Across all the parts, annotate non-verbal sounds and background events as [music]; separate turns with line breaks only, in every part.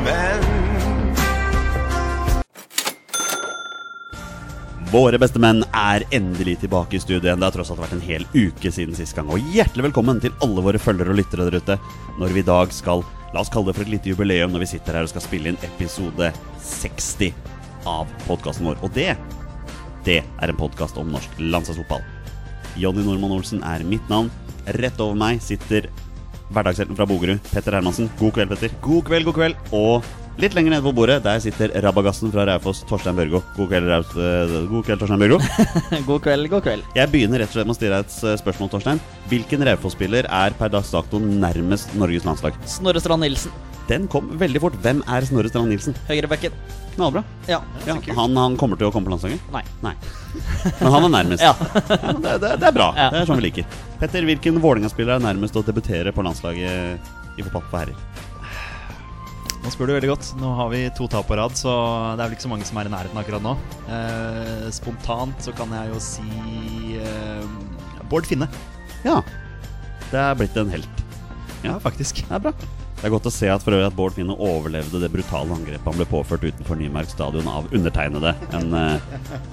bestemenn.
Våre bestemenn er endelig tilbake i studio igjen. Det har tross alt vært en hel uke siden sist gang. Og hjertelig velkommen til alle våre følgere og lyttere der ute når vi i dag skal La oss kalle det for et lite jubileum når vi sitter her og skal spille inn episode 60 av podkasten vår. Og det, det er en podkast om norsk landslagsfotball. Jonny Normann Olsen er mitt navn. Rett over meg sitter hverdagshelten fra Bogerud, Petter Hermansen. God kveld, Petter. God kveld, god kveld. Og litt lenger nede på bordet, der sitter rabagassen fra Raufoss, Torstein Børgo. God kveld, Raus... eh, God kveld, Torstein [laughs] Børgo.
God kveld, god kveld.
Jeg begynner rett og slett med å stille deg et s- spørsmål, Torstein. Hvilken Raufoss-spiller er per dags dato nærmest Norges landslag?
Snorre Strand Nilsen,
Den kom veldig fort. Hvem er Snorre Strand Nilsen?
høyrebekken.
Knallbra.
Ja.
Ja, han, han kommer til å komme på landslaget?
Nei.
Nei. Men han er nærmest.
Ja.
Ja, men det, det, det er bra.
Ja.
Det er sånn vi liker. Petter, hvilken Vålerenga-spiller er nærmest å debutere på landslaget i fotball for herrer?
Nå spør du veldig godt. Nå har vi to tap på rad, så det er vel ikke så mange som er i nærheten akkurat nå. Eh, spontant så kan jeg jo si eh, Bård Finne.
Ja. Det er blitt en helt. Ja.
Ja, faktisk.
Det er bra. Det er godt å se at, for øvrig at Bård Finne overlevde det brutale angrepet han ble påført utenfor Nymark stadion av undertegnede en eh,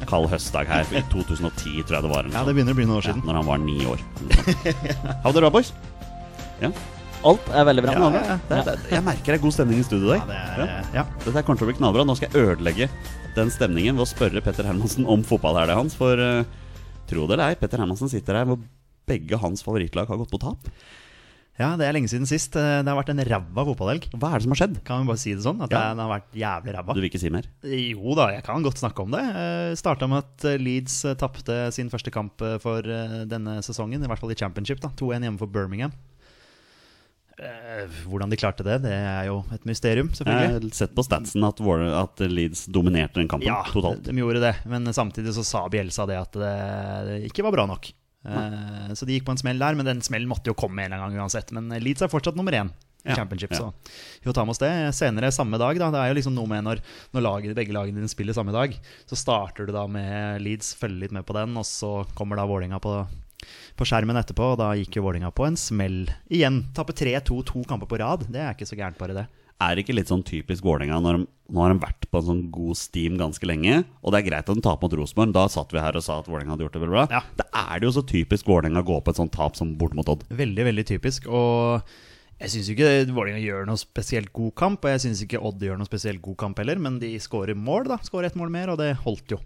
kald høstdag her i 2010, tror jeg det var. eller
Ja,
noe
det begynner å bli noen år
sånt,
siden.
når han var ni år. Har du det bra, boys? Ja.
Alt er veldig bra.
Ja, det, det, det, jeg merker det er eh, god stemning i studio i
Ja,
dag.
det
Ja.
er, eh, ja.
Dette her kommer til å bli knallbra. Nå skal jeg ødelegge den stemningen ved å spørre Petter Hermansen om fotballhelga hans. For eh, tro det eller ei, Petter Hermansen sitter her hvor begge hans favorittlag har gått på tap.
ja, det er lenge siden sist. Eh, Det har vært en ræva fotballhelg.
Hva er det som har skjedd?
Kan vi bare si det sånn? At
Ja.
den har vært jævlig ræva.
Du vil ikke si mer?
Jo da, jeg kan godt snakke om det. Eh, Starta med at eh, Leeds eh, tapte sin første kamp eh, for eh, denne sesongen, i hvert fall i championship. da 2-1 hjemme for Birmingham. Eh, Hvordan de klarte det, det er jo et mysterium,
Jeg
selvfølgelig.
har sett på statsen at, Warren, at Leeds dominerte den kampen
Ja,
totalt.
de gjorde det, men samtidig så sa Bjelsa det at det, det ikke var bra nok. Eh, Så de gikk på en smell der, men den smellen måtte jo komme en eller annen gang uansett. Men eh, Leeds er fortsatt nummer én. i
Ja,
Championship,
ja.
så vi får ta med oss det. Senere samme dag, da. Det er jo liksom noe med når, når laget, begge lagene dine spiller samme dag, så starter du da med Leeds, følger litt med på den, og så kommer da Vålinga på, på skjermen etterpå. Og da gikk jo Vålinga på en smell igjen. Tappe 3-2 to kamper på rad. Det er ikke så gærent, bare det.
Er det ikke litt sånn typisk Vålerenga? når de- Nå har de vært på en sånn god steam ganske lenge. Og det er greit at de taper mot Rosenborg. Da satt vi her og sa at Vålerenga hadde gjort det veldig bra.
Ja.
Da er det jo så typisk Vålerenga å gå på et sånt tap som bort mot Odd.
Veldig, veldig typisk. Og jeg syns ikke Vålerenga gjør noe spesielt god kamp. Og jeg syns ikke Odd gjør noe spesielt god kamp heller, men de skårer mål, da. Skårer ett mål mer, og det holdt jo.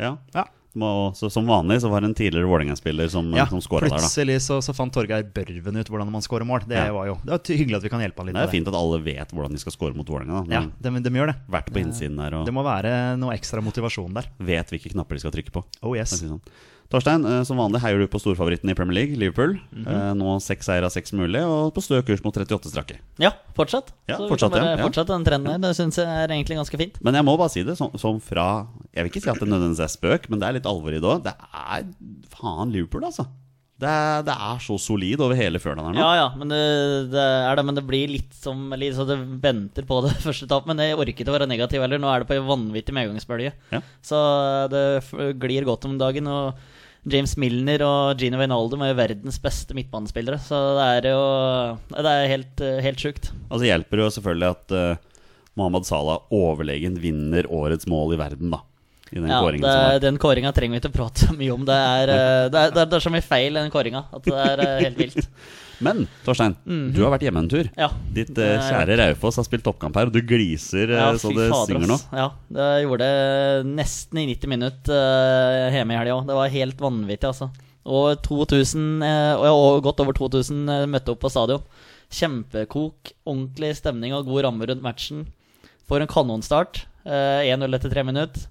Ja.
Ja.
Må- Så, som vanlig så var det en tidligere Vålerenga-spiller som,
Ja,
som skåra der, da.
plutselig så, så fant Torgeir Børven ut hvordan man skårer mål. Det
Ja.
var jo det var ty- hyggelig at vi kan hjelpe han litt
Det er
med det.
fint at alle vet hvordan de skal score mot Vålerenga. da.
Ja,
Men
de, de gjør det.
Vært på innsiden der og
Det må være noe ekstra motivasjon der.
vet hvilke knapper de skal trykke på.
Oh
for å
yes.
si det Sånn. Torstein, eh, som vanlig heier du på storfavoritten i Premier League, Liverpool.
Mhm.
Eh, Nå seks seier av seks mulig, og på stø kurs mot 38 strake.
Ja, fortsatt.
Ja,
Så vi
fortsatt,
kan bare
ja, ja.
fortsette den trenden her. Det syns jeg er egentlig ganske fint.
Men jeg må bare si det, som, som fra Jeg vil ikke si at det nødvendigvis er spøk, men det er litt alvor i det òg. Det er faen Liverpool, altså. Det er, det er så solid over hele Førland her nå.
Ja ja, men det, det er det. Men det blir litt som litt Så det venter på det [laughs] første tapet. Men jeg orker ikke å være negativ heller. Nå er det på en vanvittig medgangsbølge.
Ja.
Så det f- glir godt om dagen. Og James Milner og Gino Wijnaldum er jo verdens beste midtbanespillere. Så det er jo Det er helt, helt sjukt.
Altså hjelper det jo selvfølgelig at eh, Mohamed Salah overlegen vinner årets mål i verden, da. I den
Ja,
kåringen
det,
som var.
den kåringa trenger vi ikke å prate så mye om. Det er, eh, det er, det er, det er så mye feil i den kåringa at det er eh, helt vilt.
[laughs]
Mhm.
Men Torstein, du har vært hjemme en tur.
Ja,
Ditt
det
eh,
er-
kjære Raufoss har spilt toppkamp her, og du gliser eh,
Ja,
så
fy
det
fader,
synger nå.
ass. Ja, det gjorde jeg nesten i 90 minutter eh, hjemme i helga òg. Det var helt vanvittig, altså. Og 2000, eh, og- og godt over 2000 eh, møtte opp på stadion. Kjempekok, ordentlig stemning og god ramme rundt matchen. Får en kanonstart. eh, 1-0 etter tre minutter.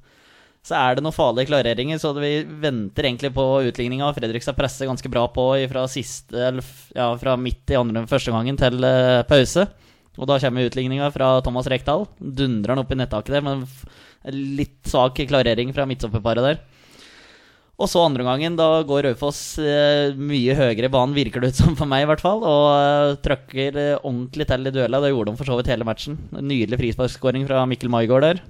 Så er det noen farlige klareringer, så vi venter egentlig på utligninga. Fredrikstad presser ganske bra på fra, siste, eller, f- ja, fra midt i andre første gangen til eh, pause. Og da kommer utligninga fra Thomas Rekdal. Dundrer han opp i nettaket der, men f- litt svak klarering fra midtstopperparet der. Og så andre gangen, da går Raufoss eh, mye høyere i banen, virker det ut som for meg i hvert fall, og eh, trøkker eh, ordentlig til i duellene. Det gjorde de for så vidt hele matchen. En Nydelig frisparkskåring fra Mikkel Maigård der.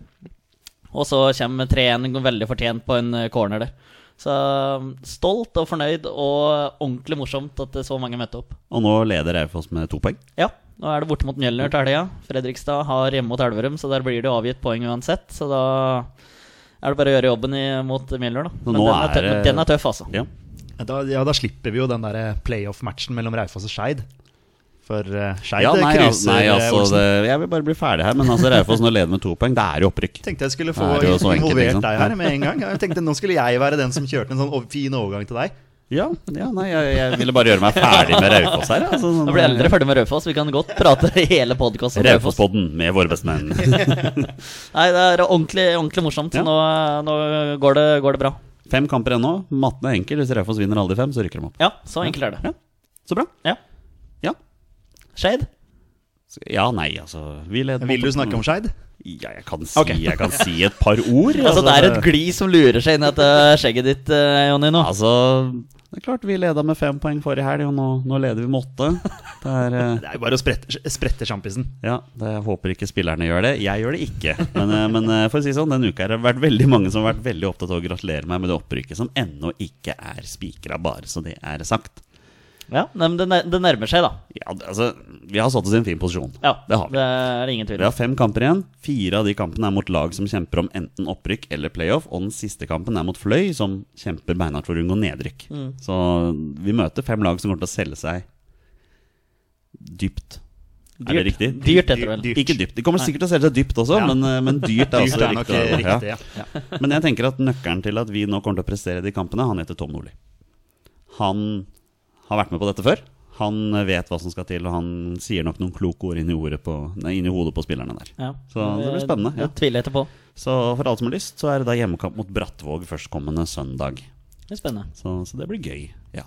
Og så kommer 3-1 veldig fortjent på en eh, corner der. Så eh, stolt og fornøyd og ordentlig morsomt at eh, så mange møtte opp.
Og nå leder Raufoss med to poeng.
Ja, Nå er det borte mot Mjølner til helga. Fredrikstad har hjemme mot Elverum, så der blir det jo avgitt poeng uansett. Så da er det bare å gjøre jobben i, mot Mjølner, da.
Så
Men
nå
den er,
er
tøff,
det-
den er tøff, altså.
Ja.
Da, ja, da slipper vi jo den der eh, playoff-matchen mellom Raufoss og Skeid. For eh, Skeid
Ja, nei, al-
cruiser
nei, altså
Olsen.
det, Jeg vil bare bli ferdig her, men altså Raufoss nå leder med to poeng. Det er jo opprykk.
Tenkte jeg skulle få
Nei, det er jo så enkelt,
involvert
ikke sant?
deg her med en gang. Jeg tenkte Nå skulle jeg være den som kjørte en sånn ov- fin overgang til deg.
Ja, ja nei, jeg, jeg ville bare gjøre meg ferdig med Raufoss her. Altså, sånn,
Da blir eldre ferdig med Raufoss. Vi kan godt prate [laughs] hele podkasten om Raufoss.
Raufoss-podden med våre bestemenn.
[laughs] Nei, det er ordentlig, ordentlig morsomt.
Ja.
Så nå, nå går, det, går det bra.
Fem kamper ennå. Matten er enkel. Hvis Raufoss vinner alle de fem, så rykker de opp.
Ja, så enkelt er det.
Ja. Så bra.
Ja.
Ja.
Shade?
Så- Ja, nei, altså vi leder
Vil du snakke om Skeid?
Ja, jeg kan si,
Ok.
[laughs] jeg kan si et par ord.
Altså, det er et gli som lurer seg inn i dette skjegget ditt, eh, Jonny, nå.
Altså, det er klart vi leda med fem poeng forrige helg, og nå, nå leder vi med åtte. Det er
[laughs]
eh,
Det er jo bare å sprette, sprette sjampisen.
Ja, det, jeg håper ikke spillerne gjør det. Jeg gjør det ikke. Men, eh, men eh, for å si det sånn, denne uka har det vært veldig mange som har vært veldig opptatt av å gratulere meg med det opprykket som ennå ikke er spikra, bare så det er sagt.
Ja, nei, men det, nær- det nærmer seg, da.
Ja, det- altså, vi har satt oss i en fin posisjon.
Ja,
Det har vi.
Det er ingen
Vi
tvil.
har fem kamper igjen. Fire av de kampene er mot lag som kjemper om enten opprykk eller playoff. Og den siste kampen er mot Fløy, som kjemper beinhardt for å unngå nedrykk. Så vi møter fem lag som kommer til å selge seg dypt. Er det
Dyrt.
riktig?
Dyrt heter det vel.
Dyrt.
Ikke dypt. De kommer sikkert til å selge seg dypt også, men, eh, men dyrt er
Dyrt
også
er nok
riktig.
eh,
Ja.
riktig, ja.
Men jeg tenker at nøkkelen til at vi nå kommer til å prestere de kampene, han heter Tom Nordli. Han har vært med på dette før. Han vet hva som skal til, og han sier nok noen kloke ord inn i, ordet på, nei, inn i hodet på spillerne der.
Ja.
Så det blir spennende, ja.
Eh, Det tviler jeg ikke på.
Så for alle som har lyst, så er det da hjemmekamp mot Brattvåg førstkommende søndag.
Det er spennende.
Så, så det blir gøy. Ja,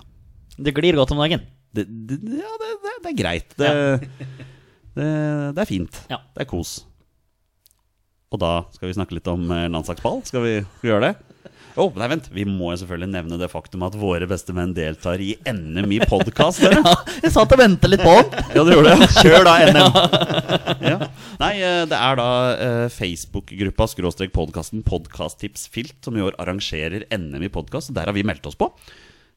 Det glir godt om dagen.
det, det, ja, det, det, det er greit. Det, [laughs] det, det er fint.
Ja.
Det er kos. Og da skal vi snakke litt om eh, landslagsball. Skal vi, skal vi gjøre det? Å, nei, vent. Vi må jo selvfølgelig nevne det faktum at våre beste menn deltar i NM i podkast.
Ja, jeg satt og ventet litt på den.
[laughs] Ja, det gjorde det.
Kjør da, NM!
[laughs] ja. Nei, eh, det er da eh, Facebook-gruppa skråstrek podkasten Podkasttipsfilt som i år arrangerer NM i podkast. Der har vi meldt oss på.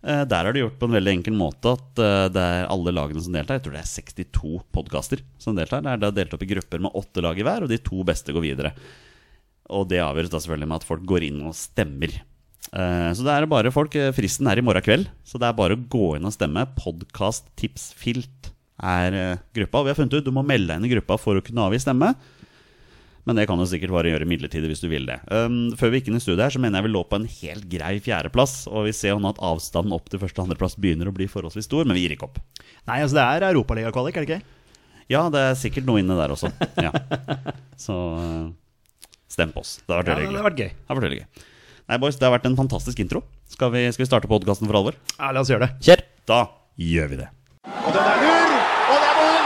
Eh, Der er det gjort på en veldig enkel måte at eh, det er alle lagene som deltar. Jeg tror det er 62 podkaster som deltar. Det er da delt opp i grupper med åtte lag i hver, og de to beste går videre. Og det avgjøres da selvfølgelig med at folk går inn og stemmer. Eh, Så det er bare folk, eh, Fristen er i morgen kveld, så det er bare å gå inn og stemme. Podkast tipsfilt er eh, gruppa. Og vi har funnet ut du må melde deg inn i gruppa for å kunne avgi stemme. Men det kan du sikkert bare gjøre midlertidig hvis du vil det. Um, før vi gikk inn i studiet her, så mener jeg vi lå på en helt grei fjerdeplass. Og vi ser jo nå at avstanden opp til første- og andreplass begynner å bli forholdsvis stor, men vi gir ikke opp.
Nei, altså det er europaligakvalik, er det ikke?
Ja, det er sikkert noe inne der også.
[laughs]
Ja. Så eh, stem på oss. Det har vært
Ja, det
veldig
hadde
hyggelig.
vært gøy.
Det har vært veldig gøy. Nei, boys, det har vært en fantastisk intro. Skal vi, skal vi starte podkasten for alvor?
Ja, la oss gjøre det.
Kjør.
Da gjør vi det.
Og den er lur, og det er mål!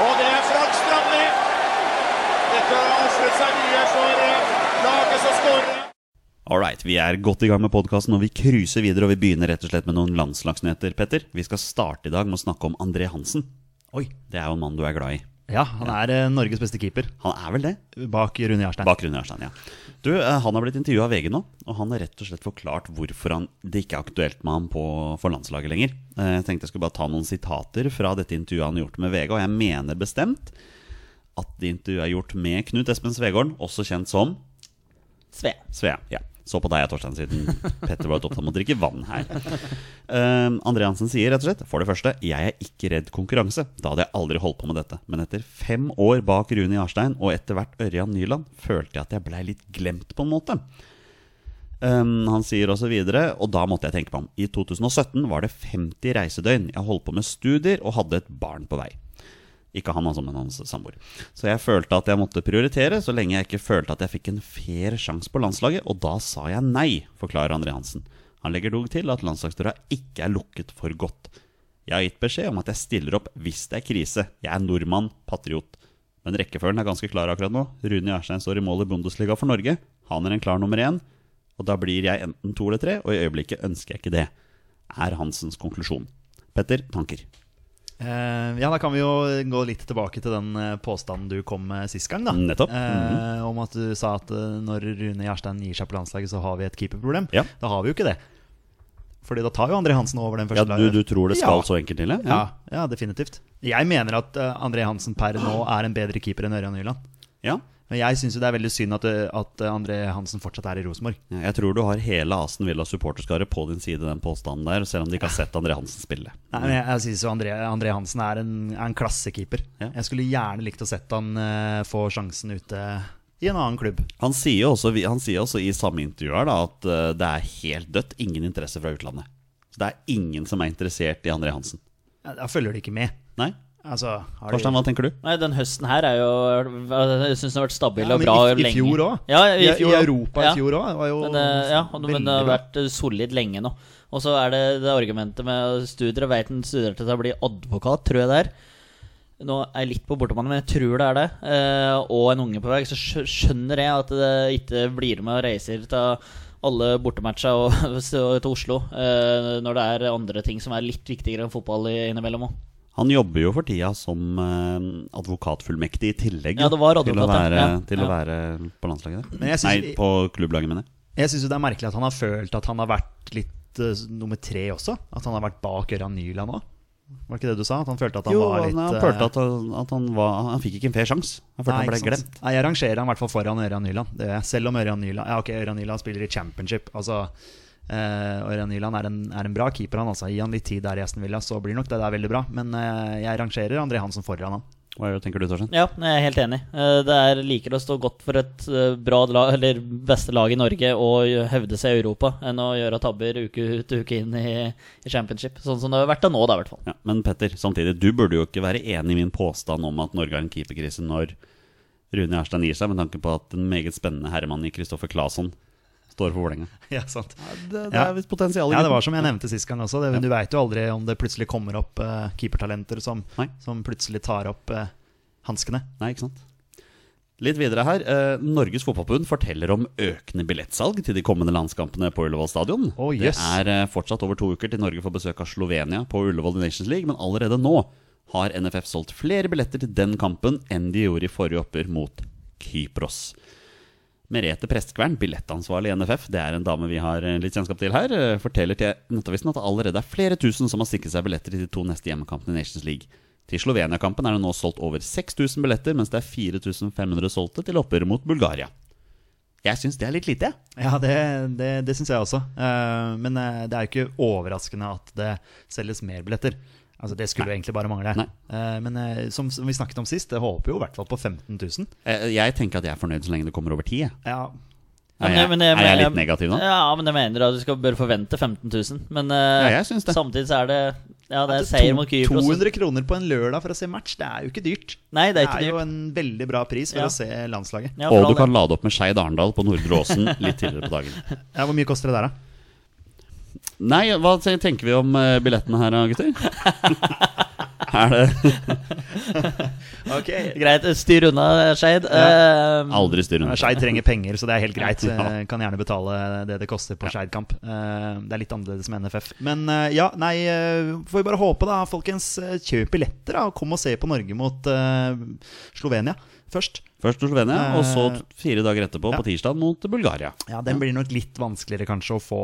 Og det er Frank Strandli. Dette har ofret seg mye for eh, laget som skårer.
All right, vi er godt i gang med podkasten, og vi cruiser videre. Og vi begynner rett og slett med noen landslagsnyheter, Petter. Vi skal starte i dag med å snakke om André Hansen.
Oi.
Det er jo en mann du er glad i.
Ja, han er eh, Norges beste keeper,
Han er vel det?
bak Rune Jarstein.
Bakgrunnen, Jarstein. Ja. Du, eh, han har blitt intervjua av VG nå, og han har rett og slett forklart hvorfor han, det ikke er aktuelt med ham på, for landslaget lenger. Eh, Jeg tenkte jeg skulle bare ta noen sitater fra dette intervjuet han har gjort med VG, og jeg mener bestemt at det intervjuet er gjort med Knut Espen Svegården, også kjent som
Sve.
Svea. Ja. Så på deg, Torstein, siden Petter var litt opptatt med å drikke vann her. Um, André Hansen sier rett og slett For det første, jeg er ikke redd konkurranse. Da hadde jeg aldri holdt på med dette. Men etter fem år bak Rune Jarstein og etter hvert Ørjan Nyland følte jeg at jeg blei litt glemt, på en måte. Um, han sier også videre, og da måtte jeg tenke meg om. I 2017 var det 50 reisedøgn. Jeg holdt på med studier og hadde et barn på vei. Ikke han, altså, men hans samboer. Så jeg følte at jeg måtte prioritere, så lenge jeg ikke følte at jeg fikk en fair sjanse på landslaget, og da sa jeg nei, forklarer André Hansen. Han legger dog til at landslagsdøra ikke er lukket for godt. Jeg har gitt beskjed om at jeg stiller opp hvis det er krise. Jeg er nordmann, patriot. Men rekkefølgen er ganske klar akkurat nå. Rune Jarstein står i mål i Bundesliga for Norge. Han er en klar nummer én, og da blir jeg enten to eller tre, og i øyeblikket ønsker jeg ikke det. Er Hansens konklusjon. Petter, tanker.
Eh, ja, da kan vi jo gå litt tilbake til den eh, påstanden du kom med sist gang, da.
Nettopp. Mhm.
Eh, om at du sa at eh, når Rune Jarstein gir seg på landslaget, så har vi et keeperproblem.
Ja.
Da har vi jo ikke det. Fordi da tar jo André Hansen over den
Ja,
første
du, du tror det skal
Ja.
så Mm. enkelt til?
Ja, ja, definitivt. Jeg mener at eh, André Hansen per nå er en bedre keeper enn Ørjan Nyland.
Ja.
Men jeg syns det er veldig synd at, eh, at André Hansen fortsatt er i Rosenborg.
Ja, Jeg tror du har hele Aston Villas supporterskare på din side, den påstanden der, selv om de ikke har sett André Hansen spille.
Nei, men jeg, jeg synes jo André, André Hansen er en, er en klassekeeper.
Ja.
Jeg skulle gjerne likt å sett han eh, få sjansen ute i en annen klubb.
Han sier jo også, han sier også i samme intervju her da, at eh, det er helt dødt. Ingen interesse fra utlandet. Så det er ingen som er interessert i André Hansen.
Ja, Da følger de ikke med.
Nei?
Altså, har de,
Torstein, hva tenker du?
Nei, den høsten her er jo Jeg syns den har vært stabil
Ja,
og
men
bra
i,
lenge.
I fjor òg.
Ja, i, fjor,
I,
også.
Europa
Ja.
i fjor òg. var jo
Men, eh, ja, og det- men det
veldig
har
bra.
vært eh, solid lenge nå. Og så er det det argumentet med studier. Jeg vet han studerer til å bli advokat, tror jeg det er. Nå er jeg litt på bortebane, men jeg tror det er det. Eh, og en unge på vei. Så skjø- skjønner jeg at det ikke blir med og reiser til alle bortematcha og, [laughs] så til Oslo eh, når det er andre ting som er litt viktigere enn fotball i- innimellom òg.
Han jobber jo for tida som eh, advokatfullmektig i tillegg
Ja, det var
til, å
advokat,
være,
ja. Ja.
til å
Ja.
være på landslaget der.
Men jeg synes-
Nei, på klubblaget, mener jeg.
Jeg syns det er merkelig at han har følt at han har vært litt eh, nummer tre også. At han har vært bak Ørjan Nyland òg. Var det ikke det du sa? At han følte at han
jo,
var litt
han, han
eh,
følte at, han- at han, var, han fikk ikke en fair sjanse. Han følte han
Nei,
ble
ikke sant.
glemt.
Nei, jeg rangerer han i hvert fall foran Ørjan Nyland. Det gjør jeg. Selv om Ørjan Nyland Ja, ok, Ørjan Nyland spiller i championship. Altså eh, Ørjan Nyland er en, er en bra keeper, han. altså Gi han litt tid der i Aston Villa, så blir nok det der veldig bra. Men eh, jeg rangerer André Hansen foran han. [laughs]
Hva tenker du, Torstein?
Ja, jeg er helt enig. Eh, Det er liker å stå godt for et eh, bra lag, eller beste lag i Norge og hevde seg i Europa, enn å gjøre tabber uke ut og uke inn i, i championship. Sånn som det har vært til nå, da, i hvert fall.
Ja, men Petter, samtidig, du burde jo ikke være enig i min påstand om at Norge har en keeperkrise når Rune Erstein gir seg, med tanke på at en meget spennende herremann i Kristoffer Claesson står for Vålerenga.
Ja, sant.
Det, det
Ja.
er visst potensial. i
Ja, det
gutten.
var som jeg nevnte sist gang også. Det, Du veit jo aldri om det plutselig kommer opp eh, keepertalenter som,
Nei.
som plutselig tar opp eh, hanskene.
Nei, ikke sant? Litt videre her. Eh, Norges Fotballforbund forteller om økende billettsalg til de kommende landskampene på Ullevål stadion.
Å,
Det
jøss.
er eh, fortsatt over to uker til Norge får besøk av Slovenia på Ullevål i Nations League, men allerede nå har NFF solgt flere billetter til den kampen enn de gjorde i forrige oppgjør mot Kypros. Merete Prestkvern, billettansvarlig i NFF, det er en dame vi har eh, litt kjennskap til her, eh, forteller til Nettavisen at det allerede er flere tusen som har sikret seg billetter til de to neste hjemmekampene i Nations League. Til Slovenia-kampen er det nå solgt over 6000 billetter, mens det er 4500 solgte til oppgjøret mot Bulgaria. Jeg syns det er litt lite, jeg.
Ja, det, det, det syns jeg også. Eh, men eh, det er jo ikke overraskende at det selges mer billetter. Altså, Det skulle jo egentlig bare mangle.
Nei.
Eh, men eh, som, som vi snakket om sist, det håper jo i hvert fall på 15 000.
Eh, Jeg tenker at jeg er fornøyd så lenge det kommer over 10. jeg.
Ja,
Er
eh,
jeg, er jeg litt negativ nå?
Ja, men jeg mener at du skal bør forvente 15 000. Men
Ja,
eh,
jeg syns det.
samtidig så er det Ja, det er
to-
seier mot Kypros.
200 kroner på en lørdag for å se match, det er jo ikke dyrt.
Nei, det er ikke
jo
dyrt.
en veldig bra pris for
Ja.
å se landslaget.
Ja, for
Og
all
du
del.
kan lade opp med Skeid Arendal på Nordre Åsen litt tidligere på
[laughs]
dagen.
Ja, Hvor mye koster det der, da?
Nei, hva te- tenker vi om eh, billettene her, da,
[laughs]
gutter? Er det
Ok,
Greit, styr unna, Skeid. Eh,
aldri styr unna?
Skeid trenger penger, så det er helt greit.
[laughs] Ja.
Eh, Kan gjerne betale det det koster på Skeid-kamp. Eh, Det er litt annerledes med NFF. Men eh, ja, nei, eh, får vi bare håpe, da, folkens. eh, Kjøp billetter, da, og kom og se på Norge mot eh, Slovenia først.
Først til Slovenia, og så
Eh,
t- fire dager etterpå, på tirsdag, mot Bulgaria.
Ja, Den blir nok litt vanskeligere kanskje å få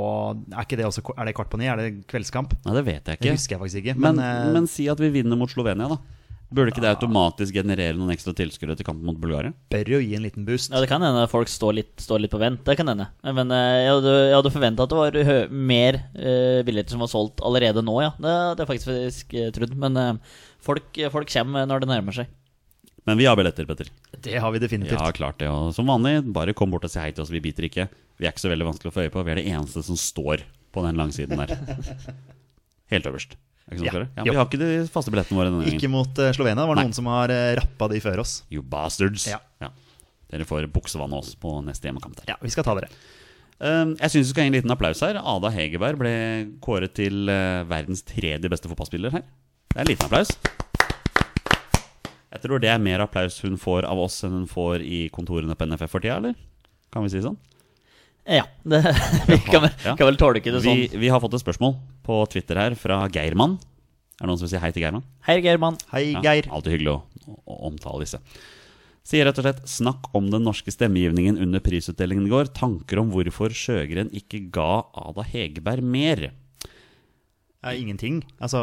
Er ikke det også Er det kvart på ni? Er det kveldskamp?
Nei, det vet jeg
Det
ikke.
husker jeg faktisk ikke.
Men,
Men, eh,
men si at vi vinner mot Slovenia, da. Burde ikke det automatisk generere noen ekstra tilskuere til kampen mot Bulgaria?
bør jo gi en liten boost.
Ja, det kan hende folk står litt, står litt på vent. Det kan hende. Men eh, jeg hadde, jeg hadde forventa at det var hø mer eh, billetter som var solgt allerede nå, ja. Det hadde jeg faktisk, faktisk eh, trodd. Men eh, folk, folk kommer når det nærmer seg.
Men vi har billetter, Petter.
Det har vi definitivt.
Ja, klart det. Og som vanlig, bare kom bort og si hei til oss. Vi biter ikke. Vi er ikke så veldig vanskelig å få øye på. Vi er det eneste som står på den
[laughs]
langsiden der. Helt øverst. Er ikke sånn,
Ja.
Kåre? ja,
Jo.
vi har ikke de faste billettene våre denne
Ikke
gangen.
mot eh, Slovenia. Det var
Nei.
noen som har eh, rappa de før oss.
You bastards.
Ja.
Dere får buksevann av oss på neste hjemmekamp. der
Ja, vi skal ta dere.
Um, Jeg syns vi skal gi en liten applaus her. Ada Hegerberg ble kåret til eh, verdens tredje beste fotballspiller her. Det er en liten applaus. Jeg tror det er mer applaus hun får av oss enn hun får i kontorene på NFF for tida, eller? Kan vi si det sånn?
Eh, Ja, det, [laughs] vi kan, vel-
Ja.
kan vel tolke det sånn.
Vi, vi har fått et spørsmål på Twitter her fra Geirmann. Er det noen som vil si hei til Geirmann?
Hei, Geirmann.
Hei,
Ja,
Geir.
Alltid hyggelig å, å omtale disse. Sier rett og slett 'Snakk om den norske stemmegivningen under prisutdelingen i går'. 'Tanker om hvorfor Sjøgren ikke ga Ada Hegerberg mer'.
er ingenting. Altså,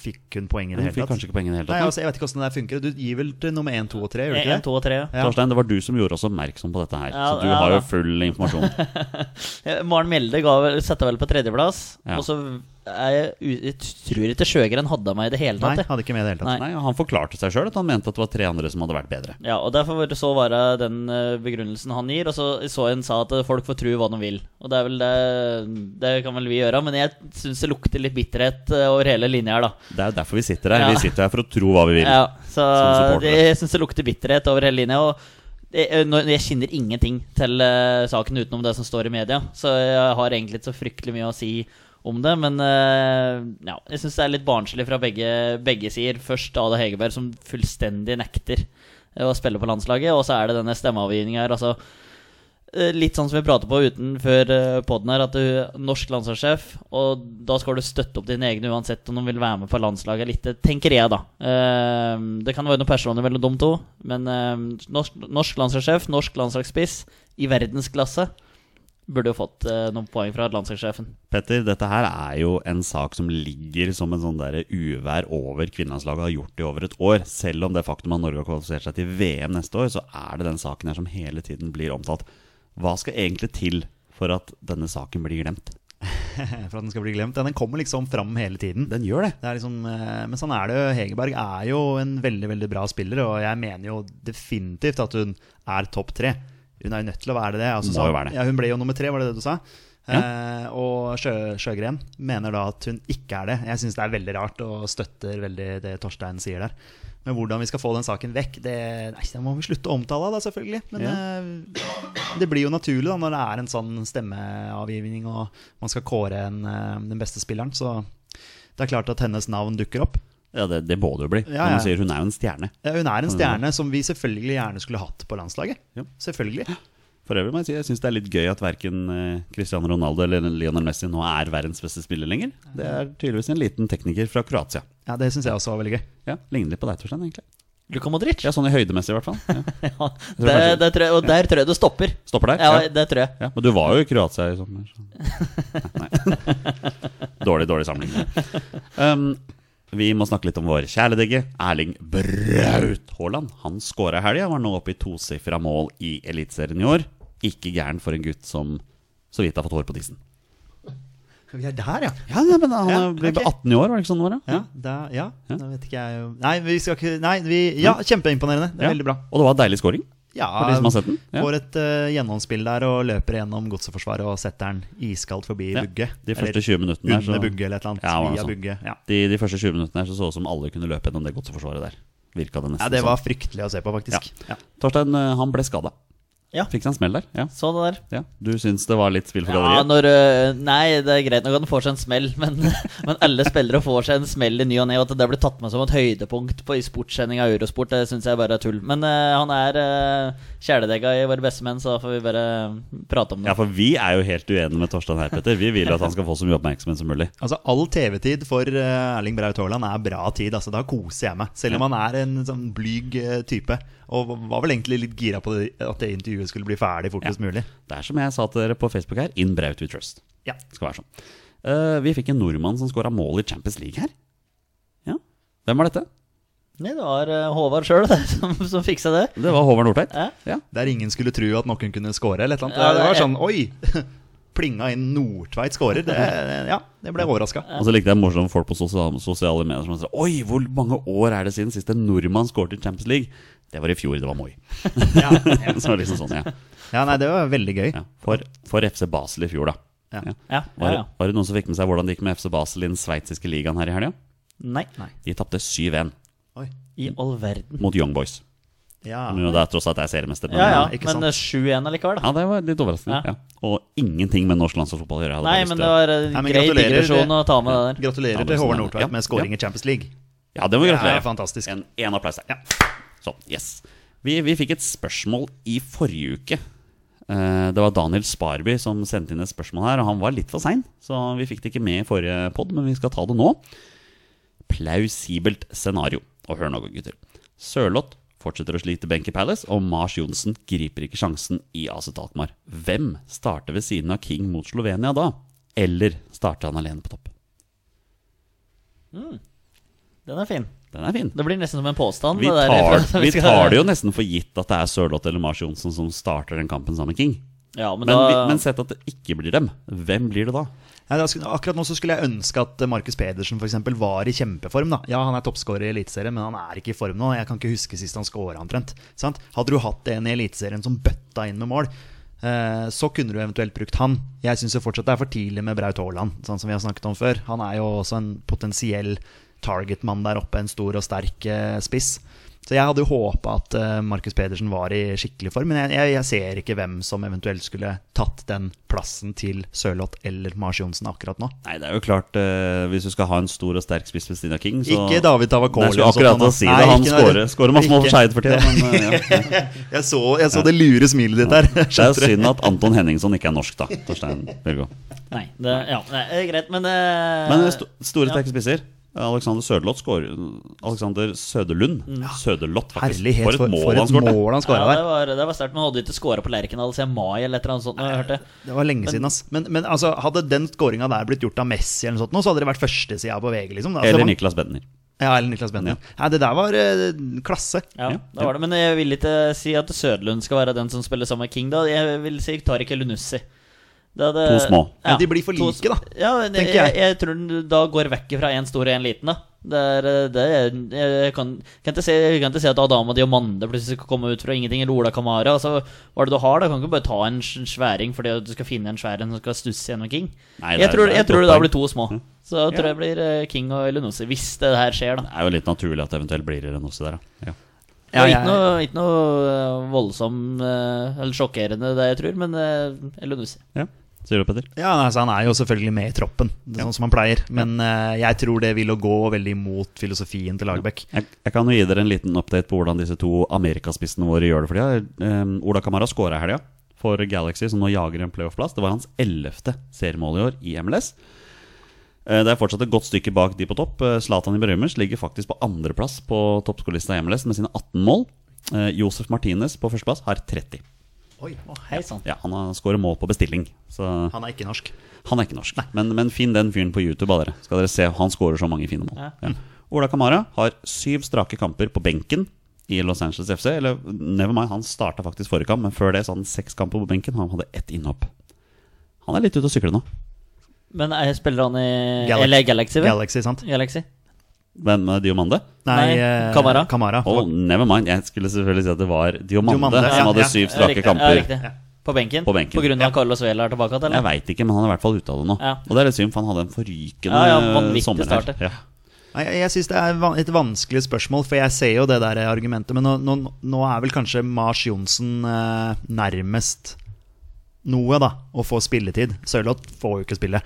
fikk kun poeng i
Hun
det hele
fikk kanskje
tatt.
ikke poeng i det hele
Nei,
tatt.
altså, jeg vet ikke åssen det der funker. Du gir vel til nummer én, to og tre? Gjør du ikke det?
Én, Eh, to og tre.
Ja.
Torstein, det var du som gjorde oss oppmerksom på dette her.
Ja,
så du
ja,
har
da.
jo full informasjon.
Eh, Maren Mjelde ga vel, setter vel på tredjeplass.
Ja.
Og så er jeg, u- jeg tror ikke Sjøgren hadde meg i det hele
[laughs] Nei,
tatt. jeg.
hadde ikke med i det hele tatt.
Nei.
Nei, Han forklarte seg sjøl at han mente at det var tre andre som hadde vært bedre.
Ja, og Derfor var det så var det den eh, begrunnelsen han gir. Og så så en sa at eh, folk får tro hva de vil. Og det er vel det Det kan vel vi gjøre, men jeg syns det lukter litt bitterhet eh, over hele linja her, da.
Det er jo derfor vi sitter her.
Ja.
Vi sitter her for å tro hva vi vil.
Ja, så
Som supportere.
det- jeg syns det lukter bitterhet over hele linja. Og jeg, eh, nå- jeg kjenner ingenting til eh, saken utenom det som står i media, så jeg har egentlig ikke så fryktelig mye å si om det. Men eh, ja, jeg syns det er litt barnslig fra begge, begge sider. Først Ada Hegerberg, som fullstendig nekter eh, å spille på landslaget, og så er det denne stemmeavgivninga her. altså Eh, Litt sånn som vi pratet på utenfor poden her, at du er norsk landslagssjef, og da skal du støtte opp dine egne uansett om de vil være med på landslaget eller ikke, tenker jeg, da. Eh, Det kan være noen personer mellom de to, men eh, norsk, norsk landslagssjef, norsk landslagsspiss i verdensklasse burde jo fått eh, noen poeng fra landslagssjefen.
Petter, dette her er jo en sak som ligger som en sånn der uvær over kvinnelandslaget har gjort i over et år. Selv om det faktum at Norge har kvalifisert seg til VM neste år, så er det den saken her som hele tiden blir omtalt. Hva skal egentlig til for at denne saken blir glemt?
[laughs] For at den skal bli glemt. Ja, den kommer liksom fram hele tiden.
Den gjør det.
Det er liksom, eh, men sånn er det jo. Hegerberg er jo en veldig veldig bra spiller, og jeg mener jo definitivt at hun er topp tre. Hun er jo nødt til å være det. Altså,
Må
så-
jo være det.
Ja, hun ble jo nummer tre, var det det du sa? Eh, og Sjø, Sjøgren mener da at hun ikke er det. Jeg syns det er veldig rart, og støtter veldig det Torstein sier der. Men hvordan vi skal få den saken vekk, det, nei, det må vi slutte å omtale, da, selvfølgelig. Men eh, det blir jo naturlig da, når det er en sånn stemmeavgivning, og man skal kåre en, eh, den beste spilleren. Så det er klart at hennes navn dukker opp.
Ja, det, det må det jo bli.
Ja,
Når
ja.
man sier hun er jo en stjerne.
Ja, Hun er en stjerne som vi selvfølgelig gjerne skulle hatt på landslaget.
Ja.
Selvfølgelig.
For øvrig må jeg si jeg syns det er litt gøy at verken eh, Cristiano Ronaldo eller Lionel Messi nå er verdens beste spiller lenger. Det er tydeligvis en liten tekniker fra Kroatia.
Ja, Det syns jeg også var veldig gøy.
Ja, Ligner litt på deg, Torstein, egentlig.
Luka Modric? [laughs]
Ja, sånn i høydemessig, i hvert fall. Ja.
Ja,
tror kanskje-
det, det tror jeg, og der tror jeg du stopper.
Stopper der?
[laughs] Ja, det tror jeg.
Ja, Men du var jo i Kroatia i sommer. Så. Nei, nei.
[laughs]
Dårlig, dårlig sammenligning. Um, vi må snakke litt om vår kjæledegge Erling Braut Haaland. Han skåra i helga, var nå oppe i tosifra mål i Eliteserien i år. Ikke gæren for en gutt som så vidt har fått hår på tissen.
Vi er der, ja.
Ja, nei, men Han
Ja,
er- blir
ok.
18 i år, var det ikke sånn det var? da?
Ja, da, ja. da vet ikke jeg jo- Nei, vi skal ikke Nei, vi Ja, kjempeimponerende. Det er
Ja.
Veldig bra.
Og det var en deilig scoring.
Ja,
For de som har sett den, ja.
Får et eh, gjennomspill der og løper gjennom godseforsvaret og setter den iskaldt forbi
Ja,
Bugge.
de første
Eller
20 minuttene der, så-
Under Bugge eller et eller annet.
Ja, det var noe
via
sånt.
Bugge. Ja.
De, de første 20 minuttene her så så det ut som alle kunne løpe gjennom det godseforsvaret der. Virka det nesten
ja, det var
sånn.
fryktelig å se på,
Ja.
faktisk. Ja.
Torstein, eh, han ble skada.
Ja.
Fikk seg en smell der. Ja.
Så det der.
Ja, Du syns det var litt spill for
Ja,
galleriet?
når, øh, nei, det er greit nok at han får seg en smell, men, [laughs] men alle spillere får seg en smell i ny og ne. Og at det blir tatt med som et høydepunkt på, i sportssending av Eurosport, det syns jeg bare er tull. Men øh, han er uh, kjæledegga i våre beste menn, så da får vi bare prate om
Ja,
det.
for vi er jo helt uenige med Torstein her, Petter. Vi vil jo at han skal få så mye oppmerksomhet som mulig.
Altså, All TV-tid for eh, Erling Braut Haaland er bra tid. altså Da koser jeg meg. Selv om han er en sånn blyg eh, type. Og var vel egentlig litt gira på det, at det intervjuet skulle bli ferdig fortest mulig.
Det er som jeg sa til dere på Facebook her, in Braut we trust.
Ja.
Det skal være sånn. Eh, vi fikk en nordmann som skåra mål i Champions League her. Ja, Hvem var dette?
Nei, [laughs] det var øh, Håvard sjøl som, som fiksa det.
Det var Håvard Nordtveit.
Ja.
Ja.
Der ingen skulle tro at noen kunne score eller et eller annet.
Ja,
det, var
det er-
sånn oi! [laughs] Plinga inn Nordtveit scorer. Det, ja, det ble overraska.
Og så likte jeg morsomme folk på sosiale, sosiale medier som sa Oi, hvor mange år er det siden sist en nordmann skåret i Champions League? Det var i fjor, det var Moi. [laughs]
Ja, ja.
Så liksom sånn, ja.
[laughs] ja, nei, det var veldig gøy.
ja. For, for FC Basel i fjor, da.
Ja.
Ja,
Var,
ja, ja.
var det noen som fikk med seg hvordan det gikk med FC Basel i den sveitsiske ligaen her i helga?
Nei,
De tapte 7-1
Oi.
i all verden.
mot Young Boys.
Ja.
Men jo, det er tross alt jeg er seriemester. men-
Ja ja,
ikke sant.
men øh, 7-1 allikevel, da.
ja, det var litt overraskende.
Ja.
Ja. Og ingenting med norsk landslagsfotball å gjøre. hadde
Nei,
jeg lyst
men
til
det
å-
var øh,
Nei, men
grei
gratulerer, det-
digresjon å ta med det der.
Gratulerer
Ja, det
til
er
Håvard
sånn, ja.
Nordtveit med scoring i Champions League.
Ja, det må vi
Ja,
gratulere.
fantastisk.
En, en applaus der.
Ja.
Sånn, yes. Vi, vi fikk et spørsmål i forrige uke. Eh, Det var Daniel Sparby som sendte inn et spørsmål her, og han var litt for sein, så vi fikk det ikke med i forrige pod, men vi skal ta det nå. Plausibelt scenario. Og hør nå, gutter. Sørloth fortsetter å slite benk i Palace, og Mars Johnsen griper ikke sjansen i AC Talkmar. Hvem starter ved siden av King mot Slovenia da? Eller starter han alene på topp?
Den er fin.
Den er fin.
Det blir nesten som en påstand.
Vi
det der. [laughs]
tar, vi
skal-
tar det jo nesten for gitt at det er Sørloth eller Mars Johnsen som starter den kampen sammen med King.
Ja, men,
Men,
da,
vi, men sett at det ikke blir dem. Hvem blir det da?
Nei, da skulle- akkurat nå så skulle jeg ønske at eh, Markus Pedersen for eksempel, var i kjempeform. da Ja, han er toppskårer i Eliteserien, men han er ikke i form nå. Jeg kan ikke huske sist han skåra omtrent. Sant? Hadde du hatt en i Eliteserien som bøtta inn med mål, eh, så kunne du eventuelt brukt han. Jeg syns fortsatt det er for tidlig med Braut Haaland, sånn som vi har snakket om før. Han er jo også en potensiell targetmann der oppe, en stor og sterk eh, spiss. Så jeg hadde jo håpa at eh, Markus Pedersen var i skikkelig form, men jeg, jeg, jeg ser ikke hvem som eventuelt skulle tatt den plassen til Sørloth eller Mars Johnsen akkurat nå.
Nei, det er jo klart eh, Hvis du skal ha en stor og sterk spiss ved siden av King, så
Ikke David sånn, Tavakoli.
Nei, jeg skulle akkurat til å si det. Han skårer- skårer masse mål for Skeid for tida. Men, eh, ja.
[laughs] Jeg så, jeg så det lure smilet ditt der.
Det er synd at Anton Henningson ikke er norsk, da. Torstein Bjørgo.
Nei, det, ja, nei, det er greit, men eh,
Men sto, store, sterke spisser. Alexander Søderlott skårer Alexander Søderlund. Søderlott, faktisk.
Herlighet,
For et mål
for
han skårte.
han
ja,
skåra
det
der.
var, det var sterkt. Men hadde ikke skåra på Lerkendal siden mai eller et eller annet sånt. når Jeg hørte.
Det var lenge siden, ass. Men, men altså, hadde den skåringa der blitt gjort av Messi, eller noe sånt, nå, så hadde det vært førstesida på VG. liksom altså,
Eller
det var-
Niklas Bentner.
Ja, eller Niklas Bender. Nei, det der var eh, klasse.
Ja,
Ja,
det var det. Men jeg vil ikke si at Sødlund skal være den som spiller sammen med King. da Jeg vil si Tariq Elunussi.
To små.
Men de blir for like, da,
Ja, men jeg,
tenker
jeg.
jeg.
tror den da går vekk fra én stor og én liten. da det er, eh, det er, jeg, kan, kan ikke se, jeg kan ikke se at Adama Diomande plutselig skal komme ut fra ingenting. Eller Ola Kamara. Altså, hva er det du har? da Kan ikke bare ta en s- sværing fordi at du skal finne en svær en som skal stusse gjennom King.
Nei, det
jeg
er-
tror,
det er
jeg
et godt
tror det da
poeng. Mm.
blir to små. Så jeg tror jeg blir eh, King og Elunussi, hvis det her skjer, da.
Det er jo litt naturlig at det eventuelt blir det noe der, ja. ja.
Det
Ja,
var ikke
jeg-
noe, ikke noe eh, voldsom eh, eller sjokkerende, det jeg tror, men eh, Elunussi.
ja. Sier du, Petter?
Ja, altså, Han er jo selvfølgelig med i troppen, det er sånn som han pleier. Men eh, jeg tror det vil å gå veldig imot filosofien til Lagerbäck.
Jeg, jeg kan jo gi dere en liten update på hvordan disse to amerikaspissene våre gjør det for tida. Um, Ola Kamara skåra i helga for Galaxy, som nå jager en playoff-plass. Det var hans ellevte seriemål i år i MLS. Eh, Det er fortsatt et godt stykke bak de på topp. Eh, Zlatan Ibrahimovic ligger faktisk på andreplass på toppskårerlista i MLS med sine 18 mål. Eh, Josef Martinez på førsteplass har 30.
Oi,
Hei sann.
Ja, han har- skårer mål på bestilling, så
Han er ikke norsk.
han er ikke norsk. Men, men finn den fyren på YouTube, av dere. Skal dere se, Han skårer så mange fine mål.
Ja.
Ja. Ola Kamara har syv strake kamper på benken i Los Angeles FC. Eller never mind, han starta faktisk forrige kamp, men før det så hadde han seks kamper på benken. Han hadde ett innhopp. Han er litt ute å sykle nå.
Men eh, spiller han i
Galaxy.
Eller Galaxy, vel?
Galaxy, sant?
Galaxy.
Hvem med Diomande?
Nei,
eh,
Kamara.
Kamara.
Oh, never mind. Jeg skulle selvfølgelig si at det var Diomande,
Diomande, ja,
som hadde
ja.
syv
Ja,
strake
riktig.
kamper.
Ja, riktig. På benken?
På benken.
På grunn av Carlos Vela er tilbake igjen,
Jeg
eller?
veit ikke, men han er i hvert fall ute av det nå.
Ja.
Og det er litt synd, for han hadde en forrykende
Ja, ja, vanvittig
sommer. her.
start, det.
Ja.
Nei, jeg- jeg syns det er van- et vanskelig spørsmål, for jeg ser jo det der argumentet. Men nå, nå, nå er vel kanskje Mars Johnsen eh, nærmest noe, da. Å få spilletid. Sørloth får jo ikke spille.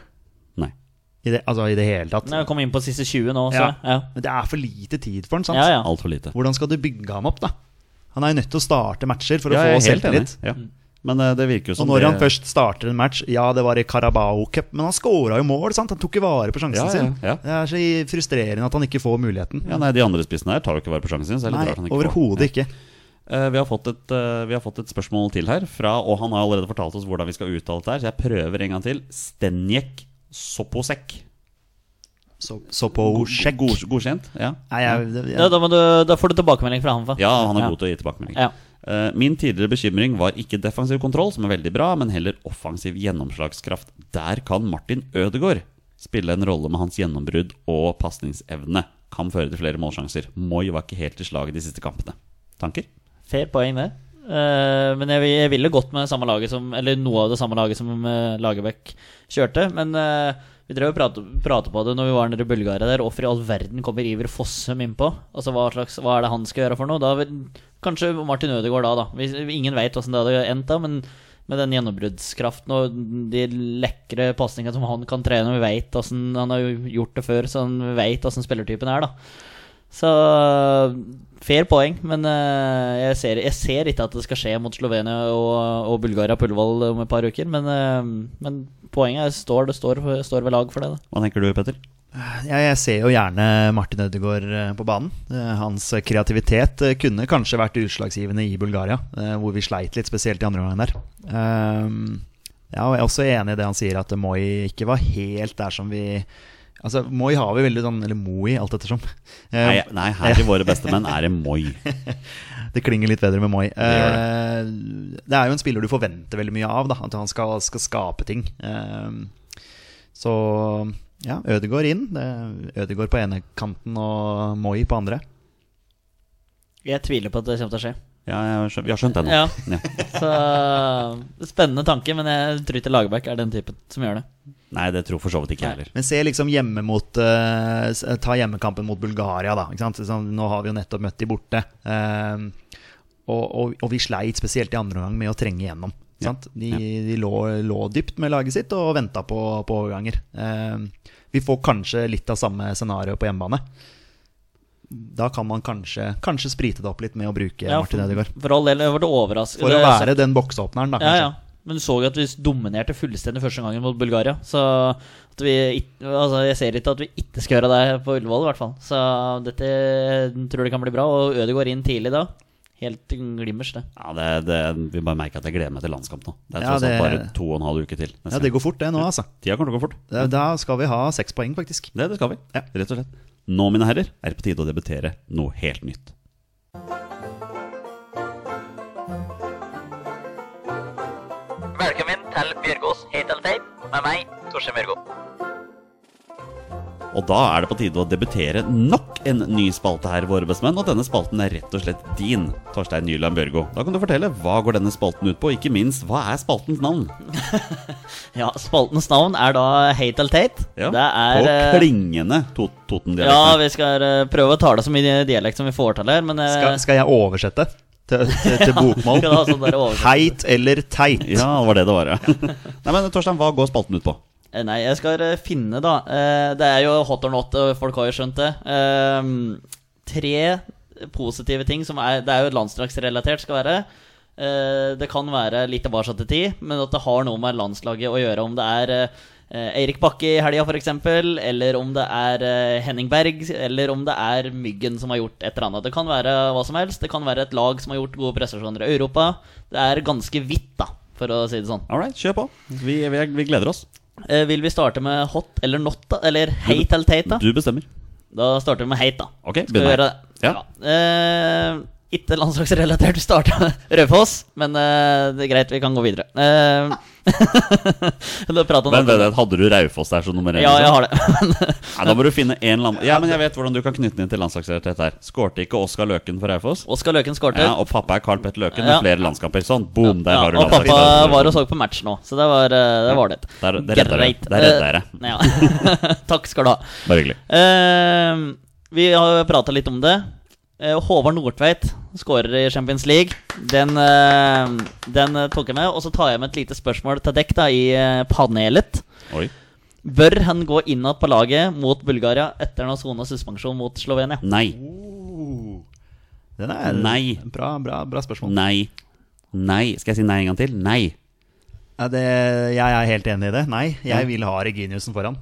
Nei.
I det, altså i det hele tatt.
Nei, Han kom inn på siste 20 nå, så
Ja.
ja.
Men det er for lite tid for han, sant?
Ja, ja.
Altfor lite.
Hvordan skal du bygge ham opp, da? Han er jo nødt til å starte matcher for å
Ja,
få
jeg er helt enig.
selvtillit.
Ja. Men eh, det virker jo
Og
som
når
det-
han først starter en match Ja, det var i Carabao Cup, men han scora jo mål, sant? Han tok jo vare på sjansen
Ja, ja,
sin.
ja.
Det er så frustrerende at han ikke får muligheten.
Ja, nei, De andre spissene her tar jo ikke vare på sjansen sin. så det er litt
Nei,
rart han ikke får.
overhodet ikke.
Eh, vi, har fått et, eh, vi har fått et spørsmål til her, fra, og han har allerede fortalt oss hvordan vi skal uttale dette. her Så jeg prøver en gang til. Stenjek Soposek.
Så, så på sjekk.
God, godkjent? Ja.
Nei, jeg, det-
ja
jeg,
da, må du, da får du tilbakemelding fra han, fa.
ja, han er
Ja.
god til å gi tilbakemelding.
Ja.
Eh, min tidligere bekymring var ikke defensiv kontroll, som er veldig bra, men heller offensiv gjennomslagskraft. Der kan Martin Ødegaard spille en rolle med hans gjennombrudd og pasningsevne. Kan føre til flere målsjanser. Moi var ikke helt i slaget de siste kampene. Tanker?
Fair poeng, det. Eh, men jeg, vil- jeg ville gått med samme laget som Eller noe av det samme laget som eh, Lagerbäck kjørte. Men eh, vi drev og prate, prate på det når vi var nede i Bulgaria der. Hvorfor i all verden kommer Iver Fossum innpå? Altså hva, slags, hva er det han skal gjøre for noe? Da, vil- kanskje Martin Ødegaard da, da. Vi, ingen veit åssen det hadde endt da, men med den gjennombruddskraften og de lekre pasningene som han kan trene, vi veit åssen han har gjort det før, så han veit åssen spillertypen er, da. Så fair poeng, men eh, jeg, ser, jeg ser ikke at det skal skje mot Slovenia og, og Bulgaria på Ullevål om et par uker. Men, eh, men poenget er står, det står, står ved lag for det. Da.
Hva tenker du, Petter?
jeg, jeg ser jo gjerne Martin Ødegaard eh, på banen. Eh, Hans kreativitet eh, kunne kanskje vært utslagsgivende i Bulgaria, eh, hvor vi sleit litt, spesielt i andre omgang der. Ehm, ja, og jeg er også enig i det han sier, at Moi ikke var helt der som vi Altså, Moi har vi veldig sånn Eller Moi, alt ettersom. Eh,
Nei, nei her i Våre beste menn er det Moi.
[laughs] Det klinger litt bedre med Moi.
gjør
Eh, det er jo en spiller du forventer veldig mye av. Da, at han skal, skal skape ting. Eh, så ja, Ødegaard inn. Det er Ødegaard på ene kanten og Moi på andre.
Jeg tviler på at det kommer til å skje.
Ja, jeg har skjønt- vi har skjønt det nå.
Ja.
Ja.
Så eh, Spennende tanke, men jeg tror ikke Lagerbäck er den typen som gjør det.
Nei, det tror for så vidt ikke jeg heller.
Men se liksom hjemme mot eh, s- Ta hjemmekampen mot Bulgaria, da. Ikke sant? Sånn, nå har vi jo nettopp møtt de borte. Eh, og, og, og vi sleit spesielt i andre omgang med å trenge igjennom. ikke
Ja,
Sant? De, de lå, lå dypt med laget sitt og venta på, på overganger. Eh, vi får kanskje litt av samme scenario på hjemmebane. Da kan man kanskje, kanskje sprite det opp litt med å bruke
Ja,
Martin Ødegaard.
For all del, jeg ble overrasket.
For å være den boksåpneren, da.
Ja,
kanskje.
ja. Men du så jo at vi dominerte fullstendig første gangen mot Bulgaria. Så at vi ikk- altså jeg ser ikke at vi ikke skal gjøre det på Ullevål, i hvert fall. Så dette tror jeg kan bli bra. Og Ødegaard inn tidlig da. Helt glimmers, det.
Ja, det, det, vi bare merker at jeg gleder meg til landskamp nå. Det er
Ja,
tross alt
det-
bare to og en halv uke til. nesten.
Ja, det går fort, det nå, altså.
Tida kommer til å gå fort.
Da- Da skal vi ha seks poeng, faktisk.
Det, det skal vi.
Ja.
Rett og slett. Nå, mine herrer, er det på tide å debutere noe helt nytt.
Velkommen til Bjørgås Hate and Tape med meg, Torstein Bjørgo.
Og da er det på tide å debutere nok en ny spalte her, våre bestemenn. Og denne spalten er rett og slett din, Torstein Nyland Bjørgo. Da kan du fortelle hva går denne spalten ut på, og ikke minst hva er spaltens navn?
Ja, [laughs] spaltens navn er da Hate eller Tate.
Ja,
det er
På
eh,
klingende to
Ja,
Toten-dialekt.
vi skal eh, prøve å tale så mye dialekt som vi får til her, men eh,
Skal, skal jeg oversette til, til, til
[laughs]
bokmål?
Skal du ha sånn der oversettelse?
Heit eller teit?
Ja, det var det det var, ja. [laughs] Nei, men Torstein, hva går spalten ut på?
Eh, Nei, jeg skal eh, finne, da. Eh, Det er jo hot or not, og folk har jo skjønt det. Ehm, Tre positive ting som er Det er jo landslagsrelatert, skal være. Eh, Det kan være litt tilbake til tid, men at det har noe med landslaget å gjøre. Om det er eh, Eirik Bakke i helga, f.eks., eller om det er eh, Henning Berg, eller om det er Myggen som har gjort et eller annet. Det kan være hva som helst. Det kan være et lag som har gjort gode prestasjoner i Europa. Det er ganske vidt, da, for å si det sånn.
All right, kjør på. Vi, vi, er- vi gleder oss.
Eh, vil vi starte med hot eller not, da? Eller hate eller tate, da?
Du bestemmer.
Da starter vi med hate, da.
Ok,
Skal vi
begynn
gjøre det?
Ja.
Eh, ikke landslagsrelatert, vi starter med [laughs] Raufoss, men eh, det er greit, vi kan gå videre. Eh, [laughs] da prater
Men, men, hadde du Raufoss der som nummer én?
Ja, jeg
liksom?
har det. [laughs]
Nei, da må du finne en land... Ja, men jeg vet hvordan du kan knytte den inn til landslagsrealitet her. Skårte ikke Oskar Løken for Raufoss?
Oskar Løken skårte.
Ja, og pappa er Carl Petter Løken med
Ja.
flere landskamper. Sånn, boom, der
Ja,
har du
og pappa
landslagsrealitet.
var og så på match nå, så det var eh, det. Var det.
Der- der redder jeg.
Greit.
Der redder jeg
Eh, ja. [laughs] Takk skal du ha.
Bare hyggelig.
Eh, vi har prata litt om det. Eh, Håvard Nordtveit skårer i Champions League. Den, eh, den eh, tok jeg med. Og så tar jeg med et lite spørsmål til dekk da, i eh, panelet.
Oi.
Bør han gå innad på laget mot Bulgaria etter han har sona suspensjon mot Slovenia?
Nei.
Oh, Den er
Nei.
Bra, bra, bra spørsmål.
Nei. Nei. Skal jeg si nei en gang til? Nei.
Ja, det, jeg er helt enig i det. Nei, jeg vil ha Reginiussen foran.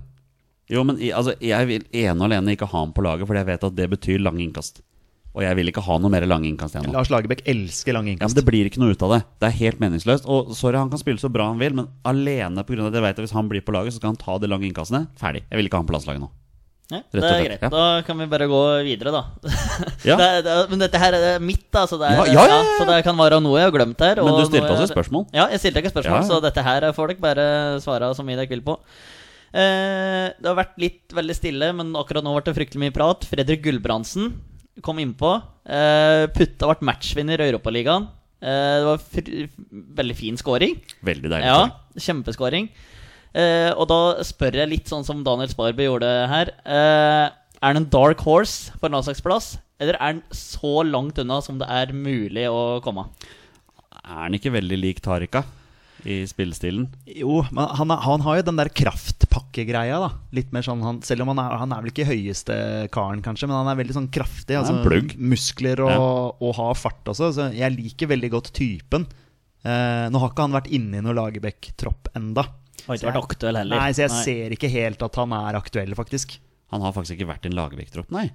Jo, men i- altså, jeg vil ene og alene ikke ha ham på laget, fordi jeg vet at det betyr lang innkast. Og jeg vil ikke ha noe mer lang innkast igjen nå.
Lars Lagerbäck elsker lange
Ja, men
innkast.
Det blir ikke noe ut av det. Det er helt meningsløst. Og sorry, han kan spille så bra han vil, men alene pga. at jeg vet at hvis han blir på laget, så skal han ta de lange innkastene. Ferdig. Jeg vil ikke ha ham på landslaget nå.
Ja,
og
det er
slett,
greit.
ja.
Da kan vi bare gå videre, da.
Ja.
det, er- det, er- men dette her er mitt, da, så det, er,
Ja, ja, ja, ja.
så det kan være noe jeg har glemt her.
Men
og
du stilte
noe jeg-
oss et spørsmål.
Ja, jeg stilte ikke spørsmål,
Ja, ja.
så dette her får dere bare svare så mye dere vil på. Eh, det har vært litt veldig stille, men akkurat nå ble det fryktelig mye prat. Fredrik Gulbrandsen kom innpå. Eh, Putta ble matchvinner i Europaligaen. Eh, det var fr veldig fin scoring.
Veldig deilig.
Ja,
sorry.
kjempeskåring. Eh, og da spør jeg litt sånn som Daniel Sparby gjorde her. Eh, er han en dark horse på en landslagsplass, eller er han så langt unna som det er mulig å komme?
Er han ikke veldig lik Tariqa i spillestilen?
Jo, men han, er- han har jo den der kraftpakkegreia, da. Litt mer sånn han, Selv om han er, han er vel ikke høyeste karen, kanskje, men han er veldig sånn kraftig.
Han er
Altså,
en plugg.
Muskler og, og har fart også. Så jeg liker veldig godt typen. Eh, nå har ikke han vært inne i noen Lagerbäck-tropp enda.
Har
Så
ikke vært
jeg-
aktuell heller.
Nei, så jeg ser ikke helt at han er aktuell, faktisk.
Han har faktisk ikke vært i en Lagerbäck-tropp, nei.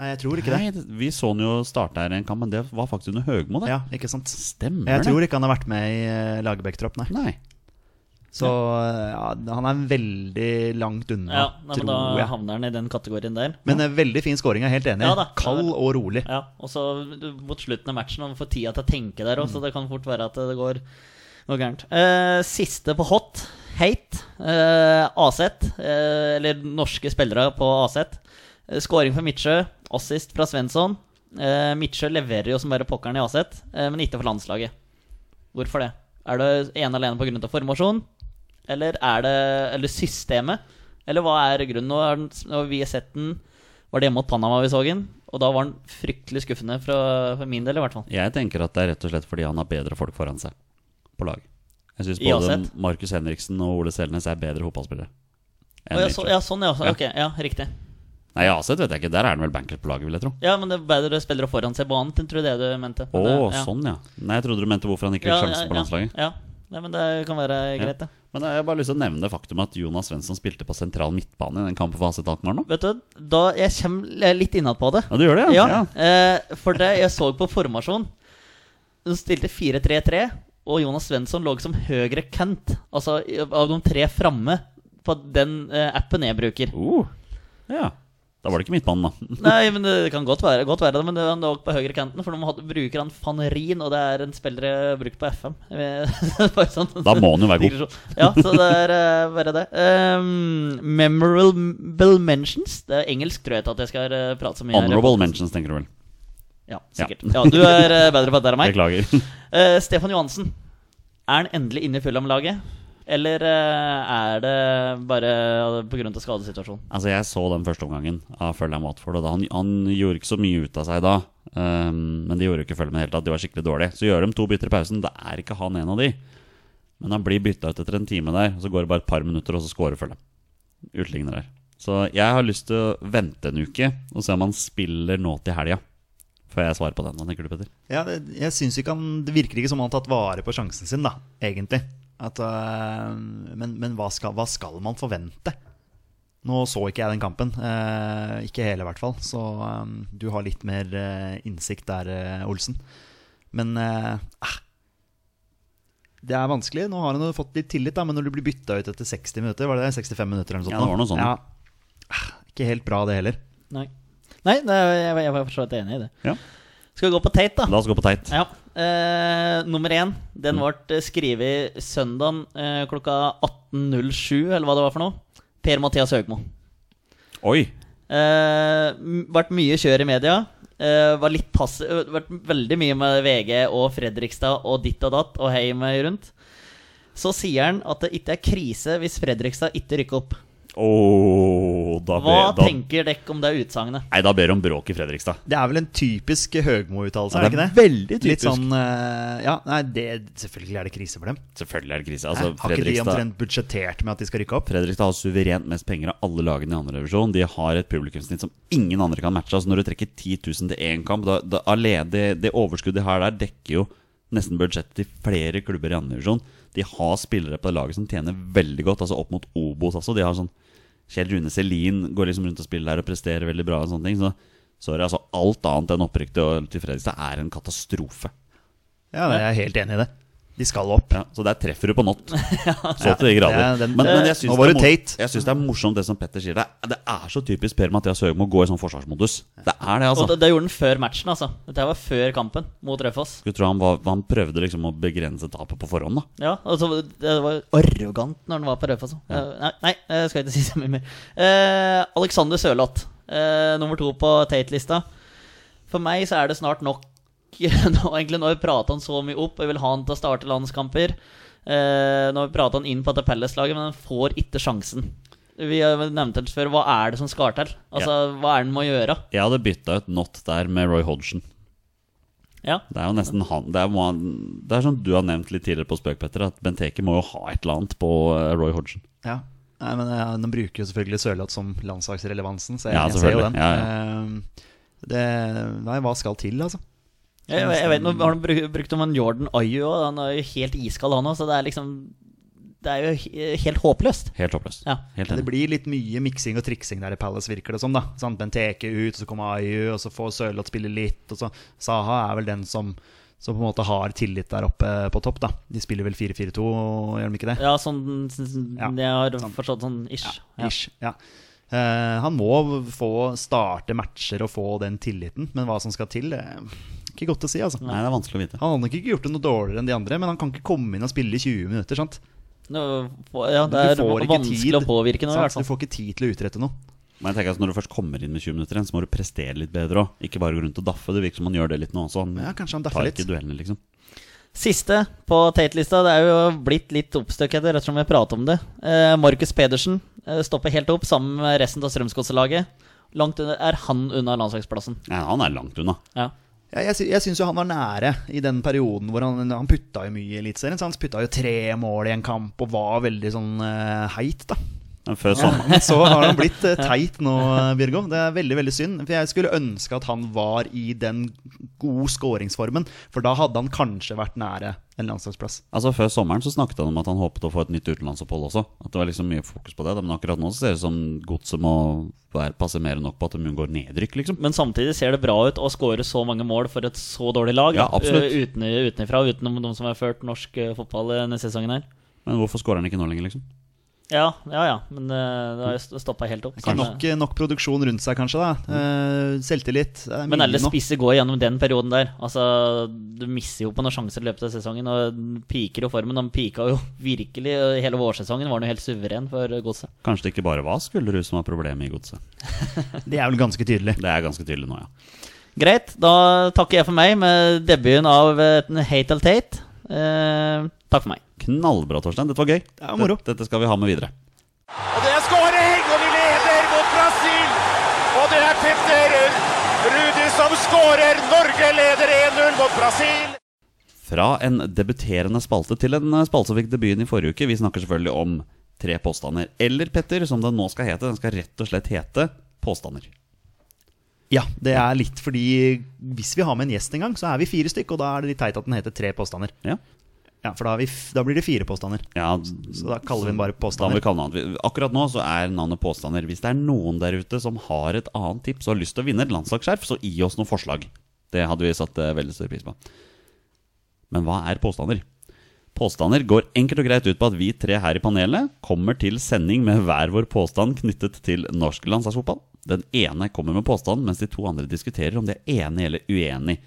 Nei, jeg tror ikke det.
nei. det- Vi så han jo starte her i en kamp, men det var faktisk under Høgmo, det.
Ja, ikke sant
Stemmer
Jeg
det?
tror ikke han har vært med i eh, Lagerbäck-tropp, nei.
Nei.
Så ja, han er veldig langt unna,
Ja, nei, men
tror
da
jeg.
havner han i den kategorien der.
Men eh, veldig fin scoring, jeg er helt enig.
Ja da.
Kald og rolig.
Ja, og så du, mot slutten av matchen og man får tida til å tenke der òg, så det kan fort være at det går noe gærent. Eh, siste på hot, hate, eh, Aset, eh, eller norske spillere på Aset. Eh, Skåring for Midtsjø, assist fra Svensson. Eh, Midtsjø leverer jo som bare pokkeren i Aset, eh, men ikke for landslaget. Hvorfor det? Er det ene alene pga. formasjon, eller er det Eller systemet? Eller hva er grunnen? Nå er den, nå har vi sett den var det hjemme mot Panama vi så den, og da var den fryktelig skuffende fra, for min del, i hvert fall.
Jeg tenker at det er rett og slett fordi han har bedre folk foran seg på lag. Jeg syns
I
både
Aset?
Markus Henriksen og Ole Selnes er bedre fotballspillere. enn
Å, ja, så,
Mitchell.
ja, sånn, ja.
Ja.
Ok, ja, riktig.
Nei, i Aset vet jeg ikke. Der er han vel bankers på laget, vil jeg tro.
Ja, men det er bedre spillere foran seg på annet, tror jeg det du mente.
Å,
Men det- ja.
sånn, ja. Nei, jeg trodde du mente hvorfor han ikke fikk
Ja,
sjansen
ja,
på landslaget.
Ja, ja. Nei, men det kan være greit, det.
Men eh, jeg har bare lyst til å nevne det faktum at Jonas Svensson spilte på sentral midtbane i den kampen for Aset Alkmaar nå.
Vet du, da Jeg kommer litt innad på det.
Ja, du gjør det?
Ja, eh, for det jeg så på formasjon De stilte 4-3-3 Og Jonas Svensson lå som høyre kant Altså i- av de tre framme På den eh, appen jeg bruker
Oh, ja. Da var det ikke midtbanen, da.
Nei, men det kan godt være, godt være det Men det han lå på høyre kanten For de hadde, bruker han Fanerin Og det er en spiller jeg har brukt på [laughs] FM Eh, Bare sånn
Da
[laughs]
må han jo være god.
digresjon. Ja, så det er eh, bare det um, Memorable mentions Det er engelsk tror jeg ikke at jeg skal eh, prate så mye her.
Honorable mentions, tenker du vel.
Ja, sikkert Ja, du er eh, bedre på det enn meg
Beklager.
Eh, Stefan Johansen, er han endelig inne i Fulham-laget? Eller eh, er det bare eh, pga. skadesituasjonen?
Altså, jeg så den første omgangen av Fulham Watford, og da han, han gjorde ikke så mye ut av seg da. Ehm, men de gjorde jo ikke Fulham i det hele tatt, de var skikkelig dårlige. Så gjør de to bytter i pausen, da er ikke han en av de. Men han blir bytta ut etter en time der, og så går det bare et par minutter, og så scorer Fulham. Utligner der. Så jeg har lyst til å vente en uke og se om han spiller nå til helga. Før jeg svarer på den. Hva tenker du, Petter?
Ja, det, jeg synes ikke han Det virker ikke som om han har tatt vare på sjansen sin, da, egentlig. At, øh, men men hva, skal, hva skal man forvente? Nå så ikke jeg den kampen. eh, ikke hele, i hvert fall. Så øh, du har litt mer eh, innsikt der, eh, Olsen. Men eh, ah, det er vanskelig. Nå har han jo fått litt tillit, da, men når du blir bytta ut etter 60 minutter, var det det? 65 minutter eller noe sånt?
Ja, det var
nå?
noe sånt.
Ja. Ah, ikke helt bra, det heller.
Nei. Nei, det er, jeg, jeg var for så vidt enig i det.
Ja.
Skal vi gå på Tate, da?
La oss gå på teit.
Ja. Eh, nummer én. Den ble eh, skrevet søndag eh, klokka 18.07, eller hva det var for noe. Per Mathias Høgmo.
Oi!
Eh, m- vært mye kjør i media. Eh, var litt passiv øh, Vært veldig mye med VG og Fredrikstad og ditt og datt og hei med rundt. Så sier han at det ikke er krise hvis Fredrikstad ikke rykker opp.
Åh, da
Hva
ber, da,
tenker dere om det utsagnet?
Nei, da ber du om bråk i Fredrikstad.
Det er vel en typisk Høgmo-uttalelse, er
Ja,
det
det
ikke
er
det?
veldig typisk.
Litt sånn eh, Ja, nei, det, selvfølgelig er det krise for dem.
Selvfølgelig er det krise. Altså,
har ikke de
Fredrikstad
omtrent budsjettert med at de skal rykke opp?
Fredrikstad har suverent mest penger av alle lagene i andre revisjon. De har et publikumssnitt som ingen andre kan matche. Altså Når du trekker 10 000 til én kamp da, da, alene, det, det overskuddet de har der, dekker jo nesten budsjettet til flere klubber i andre revisjon. De har spillere på det laget som tjener veldig godt, altså opp mot Obos også. De har sånn Kjell Rune Selin går liksom rundt og spiller der og presterer veldig bra. og sånne ting Så sorry, altså alt annet enn opprykk til til Fredrikstad er en katastrofe.
Ja, jeg er helt enig i det. De skal opp.
Ja, så der treffer du på
[laughs]
nått. Så til de grader.
Det er den-
men, men jeg syns
Nå var
det,
du
er mor-
teit.
jeg syns det er morsomt det som Petter sier. Det er, det er så typisk Per Mathias Høgmo å gå i sånn forsvarsmodus. Det er det, altså.
Og det, det gjorde han før matchen, altså. Dette her var før kampen mot Raufoss.
Skulle tro han, var, han prøvde liksom å begrense tapet på forhånd, da.
Ja, altså, det var arrogant når han var på Raufoss. Ja. Nei, nei, jeg skal ikke si så mye mer. Eh, Alexander Sørloth, eh, nummer to på Tate-lista. For meg så er det snart nok [laughs] nå, egentlig. Nå har vi prata han så mye opp, jeg vil ha han til å starte landskamper. Eh, nå har vi prata han inn på dette Palace-laget, men han får ikke sjansen. Vi har nevnt det før, hva er det som skal til? Altså, hva er det han må gjøre?
Jeg hadde bytta ut Not der med Roy Hodgson.
Ja,
Det er jo nesten han Det er, må han, det er som du har nevnt litt tidligere på spøk, Petter, at Benteke må jo ha et eller annet på eh, Roy Hodgson.
Ja. Nei, men ja, De bruker jo selvfølgelig Sørloth som landslagsrelevansen, så jeg,
Ja,
jeg ser jo
selvfølgelig.
den.
Ja,
Ehm, det, nei, hva skal til, altså?
Jeg, jeg, jeg vet, nå har han brukt, brukt om en Jordan Ayu òg. Han er jo helt iskald, han òg, så det er liksom Det er jo he- helt håpløst.
Helt håpløst.
Ja.
Helt
Det
enig.
blir litt mye miksing og triksing der i Palace, virker det som. da Sant? Benteke ut, og så kommer Ayu, og så får Sørloth spille litt. Og så. Saha er vel den som Som på en måte har tillit der oppe på topp. da De spiller vel 4-4-2, gjør de ikke det?
Ja, sånn s- s-
Ja,
Jeg har
sånn.
forstått sånn ish. Ja.
Ish, ja. Eh, han må få starte matcher og få den tilliten, men hva som skal til, eh, ikke godt å si. altså
Nei, det er vanskelig å vite.
Han hadde nok ikke gjort det noe dårligere enn de andre, men han kan ikke komme inn og spille i 20 minutter. sant?
Nå får- ja
Du
det er
får ikke
vanskelig å
tid,
påvirke noe, i hvert
sant?
fall.
Du får ikke tid til å utrette noe.
Men jeg tenker at når du først kommer inn med 20 minutter igjen, så må du prestere litt bedre òg. Ikke bare gå rundt og daffe. Det virker som han gjør det litt nå også. Han
Men ja, kanskje han
tar
daffer litt.
ikke duellene, liksom.
Siste på Tate-lista. Det er jo blitt litt oppstøkkete ettersom vi prater om det. Eh, Markus Pedersen eh, stopper helt opp sammen med resten av Strømsgodset-laget. Langt under er han unna landslagsplassen.
Nei, han er langt unna.
Ja.
Ja, jeg sy jeg syns jo han var nære i den perioden hvor han, han putta jo mye i Eliteserien. så Han putta jo tre mål i en kamp og var veldig sånn eh, heit, da.
Men før sommeren
Men så har han blitt [laughs] eh, teit nå, eh, Birgo. Det er veldig veldig synd. For jeg skulle ønske at han var i den gode skåringsformen. For da hadde han kanskje vært nære en landslagsplass.
Altså Før sommeren så snakket han om at han håpet å få et nytt utenlandsopphold også. At det var liksom mye fokus på det. Men akkurat nå så ser det ut som godset må være- passe mer enn nok på at de unngår nedrykk, liksom.
Men samtidig ser det bra ut å skåre så mange mål for et så dårlig lag.
Ja,
da.
absolutt.
Eh, Uten, utenifra, utenom de som har ført norsk eh, fotball eh, denne sesongen her.
Men hvorfor skårer han ikke nå lenger, liksom?
Ja, ja, ja. Men eh, det har jo stoppa helt opp.
Ikke nok, eh, nok produksjon rundt seg, kanskje. da Eh, Selvtillit. det er
Men
mye
alle
nå.
spisser går gjennom den perioden der. Altså, Du mister jo på noen sjanser i løpet av sesongen. Og den piker jo formen. Han pika jo [laughs] virkelig. og Hele vårsesongen var han jo helt suveren for godset.
Kanskje det ikke bare var Skullerud som var problemet i godset.
Det er vel ganske tydelig.
Det er ganske tydelig nå, ja.
Greit, da takker jeg for meg med debuten av eh, Hate Al Tate. Eh, takk for meg.
Knallbra, Torstein. Dette var gøy.
Det var moro.
Dette- Dette skal vi ha med videre.
Og det er skåring, og vi leder mot Brasil! Og det er Petter Rudi som skårer! Norge leder 1-0 mot Brasil!
Fra en debuterende spalte til en eh, spalte som fikk debuten i forrige uke. Vi snakker selvfølgelig om tre påstander. Eller Petter, som den nå skal hete. Den skal rett og slett hete Påstander.
Ja, det er litt fordi hvis vi har med en gjest en gang, så er vi fire stykk, og da er det litt teit at den heter Tre påstander.
Ja,
Ja, For da, er vi, f- da blir det fire påstander.
ja
Så da kaller vi den bare
da må
påstander.
vi kalle det noe annet. Vi- Akkurat nå så er navnet Påstander. Hvis det er noen der ute som har et annet tips og har lyst til å vinne et landslagsskjerf, så gi oss noen forslag. Det hadde vi satt eh, veldig stor pris på. Men hva er påstander? Påstander går enkelt og greit ut på at vi tre her i panelet kommer til sending med hver vår påstand knyttet til norsk landslagsfotball. Den ene kommer med påstanden, mens de to andre diskuterer om de er enig eller uenig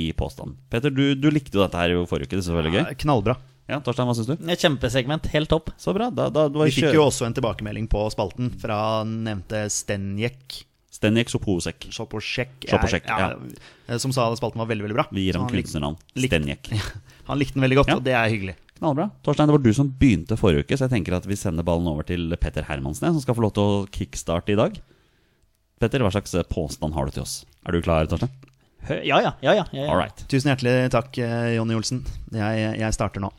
i påstanden. Petter, du, du likte jo dette her jo forrige uke. Det er selvfølgelig
Ja,
gøy.
Knallbra.
Ja, Torstein, hva syns du?
Et kjempesegment. Helt topp.
Så bra. Da, da, da
Vi fikk jo også en tilbakemelding på spalten fra nevnte Stenjek.
Stenjek Soposek.
Shoposjek.
Shoposjek,
eh, Som sa spalten var veldig, veldig bra.
Vi gir
Så
ham
han lik-
kunstnernavn.
lik-
Stenjek.
Han likte den veldig godt,
Ja.
og det er hyggelig.
Knallbra. Torstein, det var du som begynte forrige uke, så jeg tenker at vi sender ballen over til Petter Hermansen, jeg, som skal få lov til å kickstarte i dag. Petter, hva slags påstand har du til oss? Er du klar, Torstein?
Hø ja, ja. ja, ja, ja,
All
ja.
right.
Tusen hjertelig takk, eh, Jonny Olsen. Jeg, jeg starter nå.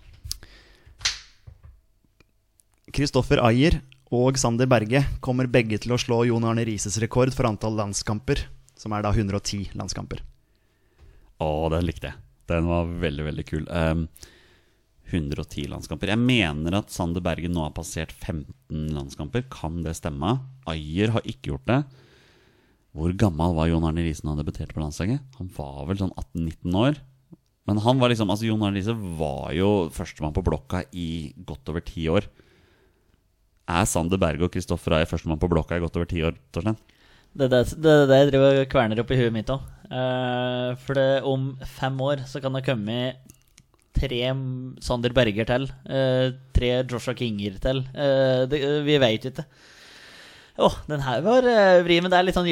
Kristoffer Ayer og Sander Berge kommer begge til å slå Jon Arne Rises rekord for antall landskamper, som er da 110 landskamper.
Å, den likte jeg. Den var veldig, veldig kul. Ehm, 110 landskamper. Jeg mener at Sander Bergen nå har passert 15 landskamper. Kan det stemme? Ayer har ikke gjort det. Hvor gammel var Jon Arne Riise da han debuterte på landslaget? Han var vel sånn 18-19 år. Men han var liksom, altså Jon Arne Riise var jo førstemann på blokka i godt over ti år. Er Sander Berge og Kristoffer Ayer førstemann på blokka i godt over ti år, Torstein?
Det er det, det, er det jeg driver og kverner opp i huet mitt òg. for det, om fem år så kan det komme tre M- Sander Berger til. eh, tre Joshua Kinger til. eh, det, vi veit ikke. Å, den her var uh, vri, men det er litt sånn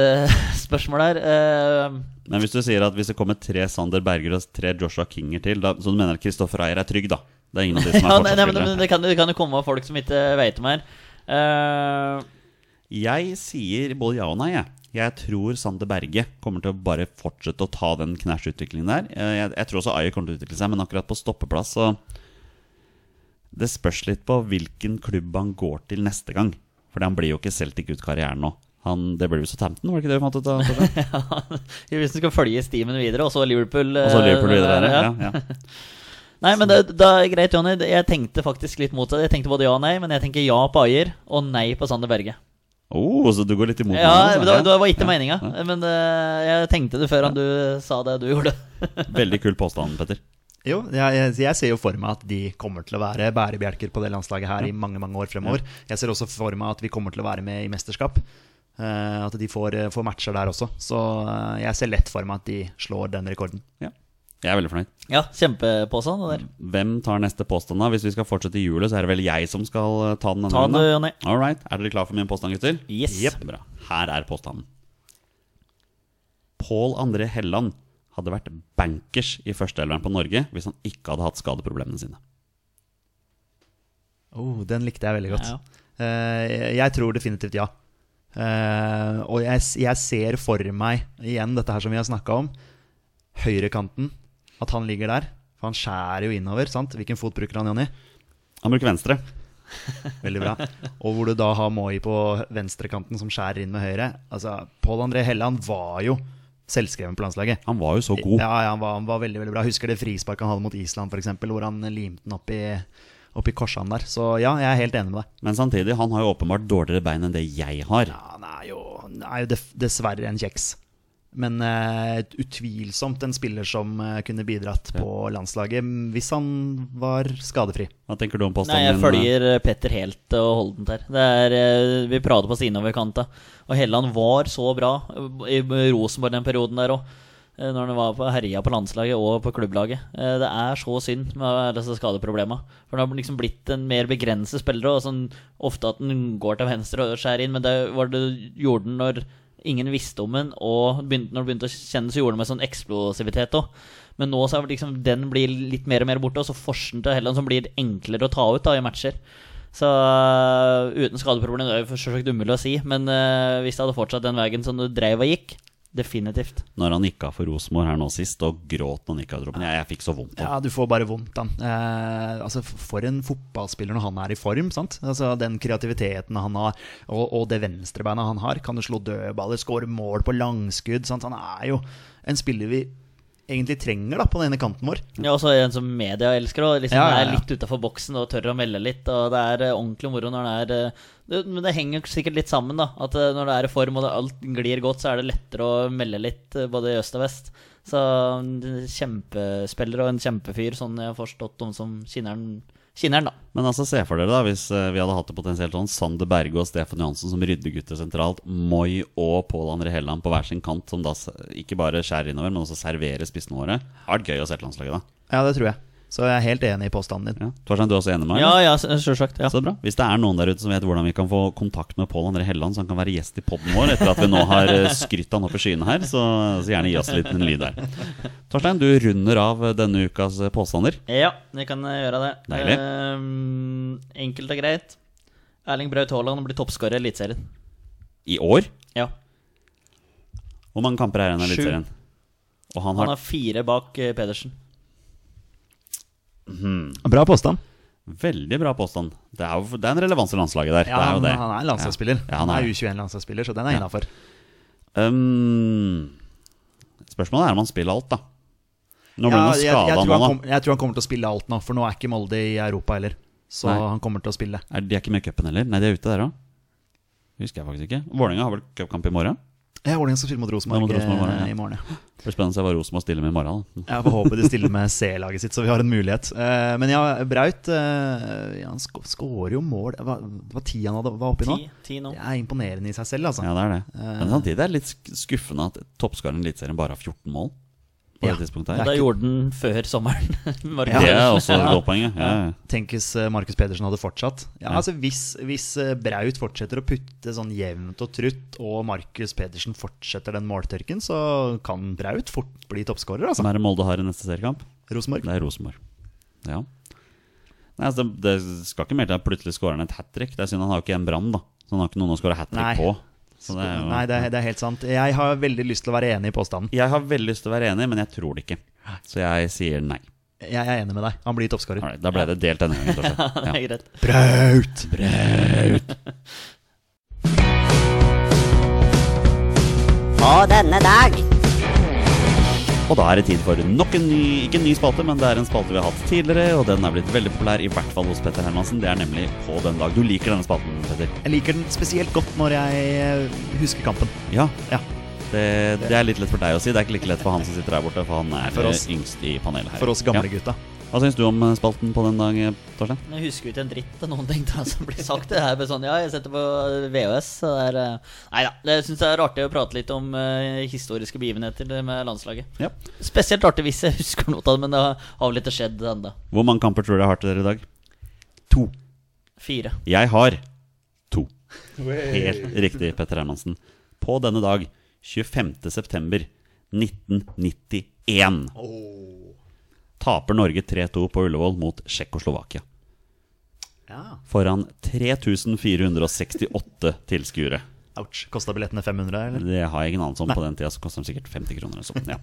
ja-nei-spørsmål her. Eh,
Men hvis du sier at hvis det kommer tre Sander Berger og tre Joshua Kinger til, da, så du mener at Kristoffer Ayer er trygg, da? Det er ingen av de som er
ja, nei, nei,
fortsatt
men, men
spillere.
det, kan, det kan jo komme folk som ikke veit om her. Eh, [laughs]
Jeg sier både ja og nei, jeg. Jeg tror Sander Berge kommer til å bare fortsette å ta den knæsjutviklingen der. Eh, Jeg, jeg tror også Ayer kommer til å utvikle seg, men akkurat på stoppeplass så Det spørs litt på hvilken klubb han går til neste gang. For han blir jo ikke Celtic ut karrieren nå. Han, det blir jo Southampton, var det ikke det vi fant ut av? Torstein?
hvis du skal følge stimen videre, og så Liverpool.
Og så Liverpool
eh,
videre.
[laughs]
Ja, ja.
Nei, men det, det er greit, Jonny. Jeg tenkte faktisk litt mot det. Jeg tenkte både ja og nei, men jeg tenker ja på Ayer og nei på Sander Berge.
Oh, så du går litt imot
Ja,
meg, altså.
det var, det var ikke meninga,
ja.
men eh, jeg tenkte det før han du sa det du gjorde. [laughs]
Veldig kul påstand, Petter.
Jo, jeg, jeg, jeg ser jo for meg at de kommer til å være bærebjelker på det landslaget her i mange mange år fremover. Jeg ser også for meg at vi kommer til å være med i mesterskap. eh, at de får, eh, får matcher der også. Så eh, jeg ser lett for meg at de slår den rekorden.
Ja. Jeg er veldig fornøyd.
Ja, kjempepåstand det der.
Hvem tar neste påstand, da? Hvis vi skal fortsette i hjulet, så er det vel jeg som skal eh, ta den. denne
Ta den,
gangen, da.
Jonny.
All right. Er dere klar for min påstand, gutter?
Yes.
Jep, Bra. Her er påstanden. Pål André Helland hadde vært bankers i førsteelveren på Norge hvis han ikke hadde hatt skadeproblemene sine.
Oh, den likte jeg veldig godt.
Ja.
Eh, jeg- jeg tror definitivt ja. Eh, og jeg, s- jeg ser for meg igjen dette her som vi har snakka om. Høyrekanten. At han ligger der. For han skjærer jo innover. sant? Hvilken fot bruker han, Jonny?
Han bruker venstre.
Veldig bra. Og hvor du da har Moi på venstrekanten som skjærer inn med høyre. Altså, Pål André Helland var jo selvskreven på landslaget.
Han var jo så god.
Ja, ja han, var, han var veldig veldig bra. Jeg Husker det frisparket han hadde mot Island, f.eks., hvor han limte den opp i, opp i korsene der. Så ja, jeg er helt enig med deg.
Men samtidig, han har jo åpenbart dårligere bein enn det jeg har.
Ja, han er jo, han er jo def- dessverre en kjeks. Men eh, utvilsomt en spiller som eh, kunne bidratt på landslaget mm, hvis han var skadefri.
Hva tenker du om
Nei,
påstanden
jeg
din?
følger eh, Petter helt og holdent her. Det er, eh, vi prater på sinoverkanta. Og Helland var så bra eh, i Rosenborg den perioden der òg. Når han var på, herja på landslaget og på klubblaget. Eh, Det er så synd med disse skadeproblemene. For han har liksom blitt en mer begrenset spiller. Og sånn, ofte at han går til venstre og skjærer inn, men det var det gjorde han når ingen visste om den, og begynte, når det begynte å kjennes, så gjorde det med sånn eksplosivitet òg. Men nå så er det liksom, den blir litt mer og mer borte, og så forsen til Helland som blir enklere å ta ut da, i matcher. Så øh, uten skadeproblemer, det er jo selvsagt umulig å si, men øh, hvis det hadde fortsatt den veien som du dreiv og gikk, definitivt.
eh, Når han gikk av for Rosenborg her nå sist, og gråt når han gikk av troppen. Jeg, jeg fikk så vondt. av det.
Ja, du får bare vondt, da. Eh, altså, f- for en fotballspiller når han er i form. sant? Altså, Den kreativiteten han har, og, og det venstrebeinet han har. Kan du slå dødballer, skåre mål på langskudd. sant? Han er jo en spiller vi egentlig trenger da, på den ene kanten vår.
Ja, og så er det en som media elsker, og liksom
Ja, ja, ja.
er litt utafor boksen og tør å melde litt. Og det er øh, ordentlig moro når det er øh, det, Men det henger sikkert litt sammen, da. At øh, når det er i form og det, alt glir godt, så er det lettere å melde litt, øh, både i øst og vest. Så øh, kjempespiller og en kjempefyr, sånn jeg har forstått dem som kinneren, kinneren da.
Men altså, se for dere da, hvis eh, vi hadde hatt det potensielt sånn Sander Berge og Stefan Johansen som ryddegutter sentralt, Moi og Pål André Helland på hver sin kant, som da s- ikke bare skjærer innover, men også serverer spissene våre. Det har vært gøy å se til landslaget, da.
Ja, det tror jeg. Så jeg er helt enig i påstanden din.
Ja. Torstein, du er også enig med meg?
Ja,
eller?
ja, sjølsagt. Ja.
Så bra. Hvis det er noen der ute som vet hvordan vi kan få kontakt med Pål André Helland, så han kan være gjest i poden vår etter at vi nå har eh, skrytt han opp i skyene her, så, så gjerne gi oss litt en lyd der. Torstein, du runder av eh, denne ukas eh, påstander.
Ja, vi kan eh, gjøre det.
Deilig.
Eh, enkelt og greit. Erling Braut Haaland blir toppskårer i Eliteserien.
I år?
Ja.
Hvor mange kamper er igjen i
Sju.
Eliteserien? Og han
Han
har
har fire bak eh, Pedersen.
Bra påstand.
Veldig bra påstand. Det er, jo, det er en relevans i landslaget der.
Ja,
det er jo
han,
det.
han er en landslagsspiller.
Ja,
han
han
er
er.
U21-landslagsspiller, så den er innafor.
Um, spørsmålet er om han spiller alt, da. Nå ble
Ja,
han
jeg, jeg,
skada
tror
nå,
han
da.
kom- jeg tror han kommer til å spille alt nå, for nå er ikke Molde i Europa heller. Så
Nei.
han kommer til å spille.
Er, de er ikke med i cupen heller? Nei, de er ute der òg. Husker jeg faktisk ikke. Vålerenga har vel cupkamp i morgen?
Ja, Ålingen skal spille mot
Ja,
Rosenborg
mot Rosenborg i morgen,
eh,
ja.
i morgen. ja.
Det blir spennende å se hva Rosenborg stiller med i morgen. Da.
Jeg får håpe de stiller med C-laget sitt, så vi har en mulighet. Eh, Men ja, Braut eh, ja, Han sk- skårer jo mål Hva, hva ti han hadde, var oppi nå?
Ti, ti nå.
Det er imponerende i seg selv, altså.
Ja, det er det. Men samtidig er det litt sk- skuffende at toppskåreren i Eliteserien bare har 14 mål. På
Ja.
det tidspunktet her.
Da gjorde den før sommeren. [laughs] Markus
Det er
Pedersen.
også et
[laughs]
godt poeng, ja. ja. ja.
Tenkes eh, Markus Pedersen hadde fortsatt. Ja, altså Hvis, hvis eh, Braut fortsetter å putte sånn jevnt og trutt, og Markus Pedersen fortsetter den måltørken, så kan Braut fort bli toppskårer, altså.
Som er det Molde har i neste seriekamp?
Rosenborg.
Det er Rosenborg. Ja. Nei, altså, det det skal ikke mer til at plutselig skårer han et hat trick. Det er synd han har jo ikke en brann, da. Så han har ikke noen å skåre hat
Nei.
trick på. Så det er jo,
Nei, det er, det er helt sant. Jeg har veldig lyst til å være enig i påstanden.
Jeg har veldig lyst til å være enig, men jeg tror det ikke. Så jeg sier nei.
Jeg er enig med deg. Han blir toppskårer.
Alright, da ble det delt denne
[laughs]
gangen.
Det
Torstein.
er
Ja.
Braut!
[laughs] greit.
På denne dag.
Og da er det tid for nok en ny Ikke en ny spalte, men det er en spalte vi har hatt tidligere, og den er blitt veldig populær, i hvert fall hos Petter Hermansen. Det er nemlig På den dag. Du liker denne spalten, Petter?
Jeg liker den spesielt godt når jeg eh, husker kampen.
Ja.
Ja.
Det, det er litt lett for deg å si. Det er ikke like lett for han som sitter der borte, for han er
for oss-
eh, yngst i panelet her.
For oss gamle
Ja.
gutta.
Hva syns du om eh, spalten på den dag, eh, Torstein?
Men Jeg husker jo ikke en dritt av noen ting da, som blir sagt. Det er bare sånn, ja, jeg setter på VHS. Så det er, eh, nei da. Jeg syns det er artig å prate litt om eh, historiske begivenheter med landslaget.
Ja.
Spesielt artig hvis jeg husker noe av det, men det har har vel ikke skjedd ennå.
Hvor mange kamper tror du jeg har til dere i dag? To.
Fire.
Jeg har to. Helt riktig, Petter Hermansen. På denne dag, 25. september 1991, taper Norge 3-2 på Ullevål mot Tsjekkoslovakia.
Ja.
Foran 3468 tilskuere.
Ouch. Kosta billettene 500, eller?
Det har jeg ingen anelse om. På den tida så kosta den sikkert 50 kroner. Eller sånt, ja.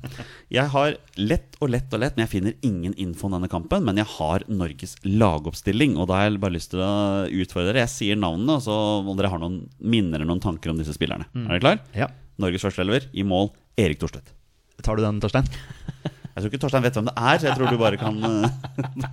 Jeg har lett og lett og lett, men jeg finner ingen info om denne kampen. Men jeg har Norges lagoppstilling, og da har jeg bare lyst til å utfordre dere. Jeg sier navnene, og så om dere har noen minner eller noen tanker om disse spillerne. Er dere klar?
Ja.
Norges førsteelver i mål, Erik Thorstvedt.
Tar du den, Torstein?
Jeg tror ikke Torstein vet hvem det er, så jeg tror du bare kan eh,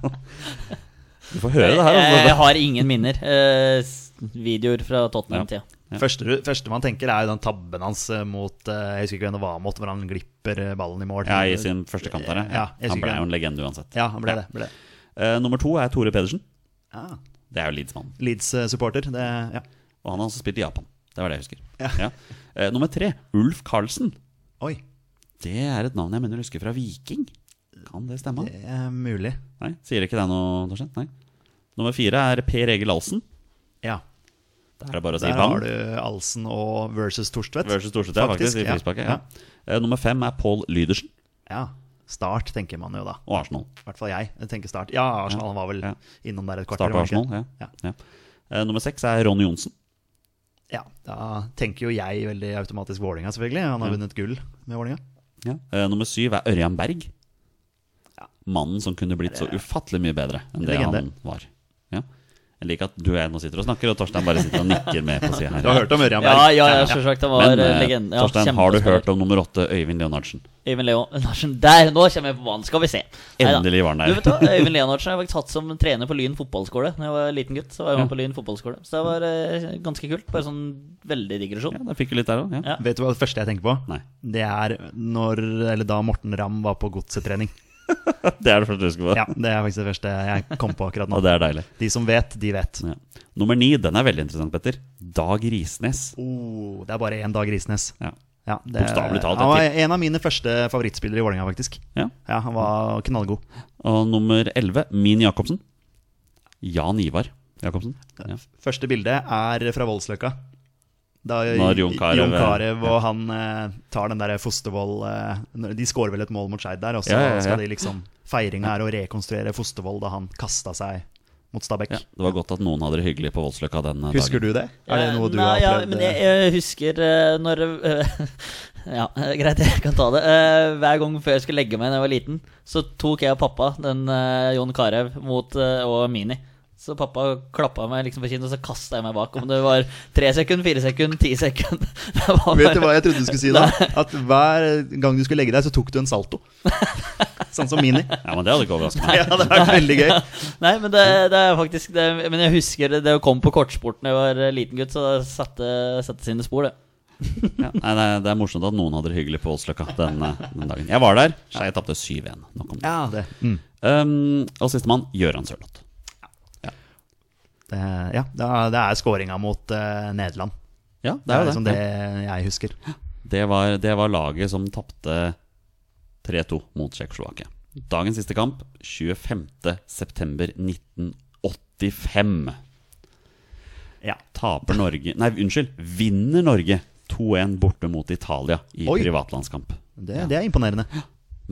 [laughs] Du får høre det her.
Jeg, jeg
Altså.
har ingen minner. Eh, s- videoer fra Tottenham-tida.
Ja.
Første, du- første man tenker, er jo den tabben hans eh, mot eh, Jeg husker ikke hvem det var mot, hvor han glipper eh, ballen i mål.
Ja, I sin første kamp der, ja.
Ja, jeg
Han
husker
ble jo
ikke.
en legende uansett.
Ja, Ah. han ble det. Ble det.
Eh, nummer to er Tore Pedersen.
Ja.
Det er jo Leeds-mannen.
Leeds-supporter. eh, Det ja.
Og han har også spilt i Japan. Det var det jeg husker.
Ja.
Ja. Eh, nummer tre, Ulf Karlsen.
Oi,
Det er et navn jeg mener å huske fra Viking. Kan det stemme?
det er mulig.
Nei, Sier ikke det noe, Torstein? Nei. Nummer fire er Per Egil Ahlsen.
Ja.
Der er det bare å si
Der
bang.
har du Alsen og versus Torstvedt.
Versus Thorstvedt, ja, faktisk. i frisparket, ja. Eh, Nummer fem er Pål Lydersen
Ja. ja. Start, tenker man jo da.
og Arsenal.
I hvert fall jeg. jeg tenker start. Ja, Arsenal han var vel
Ja.
innom der et kvarter.
Start på
var han ikke?
Arsenal. Ja. Ja. Eh, Nummer seks er Ronny Johnsen.
Ja, Da tenker jo jeg veldig automatisk Vålinga selvfølgelig. Han har vunnet gull med Vålinga
Ja. Eh, Nummer syv er Ørjan Berg. Mannen som kunne blitt så ufattelig mye bedre enn det
Legende.
han var. Ja. Jeg liker at du og jeg nå sitter og snakker, og Torstein bare sitter og nikker med på sida her.
om Ørjan
Ja, ja, ja selvsagt. Han var
Men
eh,
eh,
legende. Ja,
Torstein, har du
kjempespiller.
hørt om nummer åtte, Øyvind Leonardsen?
Øyvind Leo Larsen der! Nå kommer jeg på banen, skal vi se. Neida.
Endelig var han der.
Du vet hva, Øyvind Leonardsen er faktisk hatt som trener på Lyn fotballskole Da jeg var liten gutt. Så var jeg med på Lyn fotballskole Så det var eh, ganske kult. Bare sånn veldig digresjon.
Ja, da fikk vi litt der òg. Ja.
Ja.
Vet du hva det første jeg tenker på?
Nei. [laughs]
Det er når, eller da Morten Ramm var på godsetrening.
Det er det første du husker på.
Ja, det er faktisk det første jeg kom på akkurat nå.
Og det er deilig.
De som vet, de vet.
Ja. Nummer ni, den er veldig interessant, Petter. Dag Risnes.
Oh, det er bare én dag Risnes.
Ja.
Ja, det-
Bokstavelig talt,
Han var
jeg
en av mine første favorittspillere i Vålerenga, faktisk.
Ja.
Ja, Han var knallgod.
Og nummer elleve, Min Jacobsen. Jan Ivar Jacobsen. Ja.
Første bilde er fra Voldsløkka. Da
Når Jon Carew-
Jon Carew og han eh, tar den der Fostervoll eh, når- De skårer vel et mål mot Skeid der, og så
Ja, ja, ja.
skal de liksom Feiringa er å rekonstruere Fostervoll da han kasta seg mot Stabæk.
Ja, det var godt at noen hadde det hyggelig på Voldsløkka den eh, dagen.
Husker du det? Er det
Eh,
noe du
Nei,
har
ja,
opplevd?
men jeg, jeg husker eh, når eh, [laughs] Ja, eh, greit, jeg kan ta det. Eh, hver gang før jeg skulle legge meg da jeg var liten, så tok jeg og pappa den eh, Jon Carew mot eh, og Mini. Så pappa klappa meg liksom på kinnet, og så kasta jeg meg bak. Om det var tre sekunder, fire sekunder, ti sekunder. [laughs] Det var
[laughs] Vet du
bare-
hva jeg trodde du skulle si
[laughs]
da? At hver gang du skulle legge deg, så tok du en salto. sånn som Mini.
Ja, men Det hadde ikke overrasket meg.
Ja, det var veldig gøy.
Nei, men det, det er faktisk det, Men jeg husker det, det å komme på kortsporten da jeg var eh, liten gutt, så det satte, satte sine spor, det.
Ja, nei, det, er- det er morsomt at noen hadde det hyggelig på Voldsløkka den, eh, den dagen. Jeg var der. Skei tapte 7-1. Nok om det.
Ja, det. Mm.
Um, og sistemann, Gøran Sørloth.
det ja, da- det er skåringa mot eh, Nederland.
Ja,
Det er
jo
liksom det jeg husker.
Det var, det var laget som tapte 3-2 mot Tsjekkoslovakia. Dagens siste kamp, 25.9.1985.
Ja.
Taper Norge Nei, unnskyld. Vinner Norge 2-1 borte mot Italia i
Oi.
privatlandskamp.
Det, det er imponerende.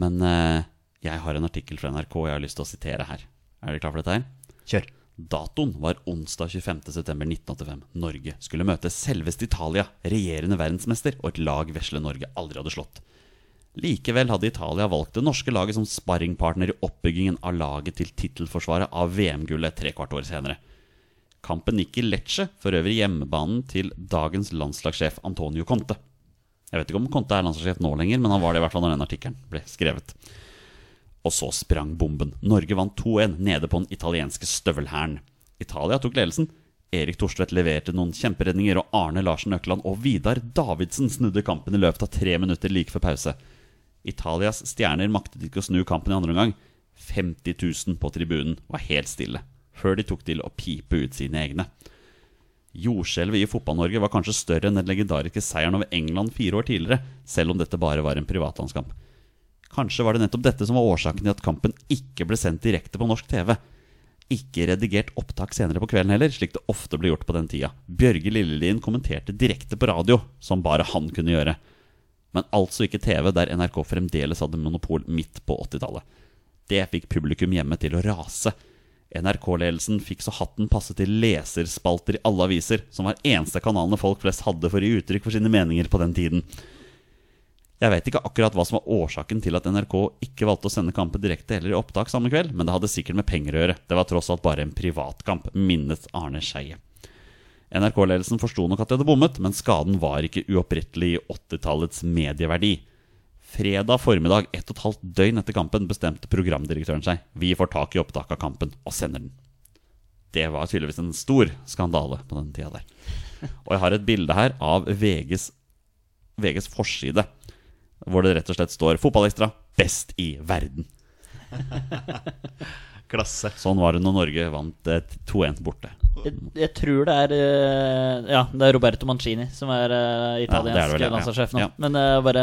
Men eh, jeg har en artikkel fra NRK jeg har lyst til å sitere her. Er dere klar for dette her?
Kjør.
Datoen var onsdag 25.9.1985. Norge skulle møte selveste Italia, regjerende verdensmester, og et lag vesle Norge aldri hadde slått. Likevel hadde Italia valgt det norske laget som sparringpartner i oppbyggingen av laget til tittelforsvaret av VM-gullet trekvart år senere. Kampen gikk i Lecce, for øvrig hjemmebanen til dagens landslagssjef Antonio Conte. Jeg vet ikke om Conte er landslagssjef nå lenger, men han var det i hvert fall når den artikkelen ble skrevet. Og så sprang bomben. Norge vant 2-1 nede på den italienske støvelhæren. Italia tok ledelsen. Erik Thorstvedt leverte noen kjemperedninger, og Arne Larsen Økeland og Vidar Davidsen snudde kampen i løpet av tre minutter like før pause. Italias stjerner maktet ikke å snu kampen i andre omgang. 50 000 på tribunen var helt stille, før de tok til å pipe ut sine egne. Jordskjelvet i Fotball-Norge var kanskje større enn den legendariske seieren over England fire år tidligere, selv om dette bare var en privatlandskamp. Kanskje var det nettopp dette som var årsaken til at kampen ikke ble sendt direkte på norsk TV. Ikke redigert opptak senere på kvelden heller, slik det ofte ble gjort på den tida. Bjørge Lillelien kommenterte direkte på radio, som bare han kunne gjøre. Men altså ikke TV, der NRK fremdeles hadde monopol midt på 80-tallet. Det fikk publikum hjemme til å rase. NRK-ledelsen fikk så hatten passe til leserspalter i alle aviser, som var eneste kanalene folk flest hadde for å gi uttrykk for sine meninger på den tiden. Jeg vet ikke akkurat hva som var årsaken til at NRK ikke valgte å sende kampen direkte eller i opptak samme kveld, men det hadde sikkert med penger å gjøre. Det var tross alt bare en privatkamp, minnet Arne Skeie. NRK-ledelsen forsto nok at de hadde bommet, men skaden var ikke uopprettelig i 80-tallets medieverdi. Fredag formiddag, ett og et halvt døgn etter kampen, bestemte programdirektøren seg. Vi får tak i opptaket av kampen og sender den. Det var tydeligvis en stor skandale på den tida der. Og jeg har et bilde her av VGs, VGs forside, hvor det rett og slett står 'Fotballekstra best i verden'.
Klasse.
Sånn var det når Norge vant eh, 2-1 borte.
Jeg, jeg tror det er eh, Ja, det er Roberto Mancini som er eh, italiensk
vel, ja.
landslagssjef nå.
Ja.
Men eh, bare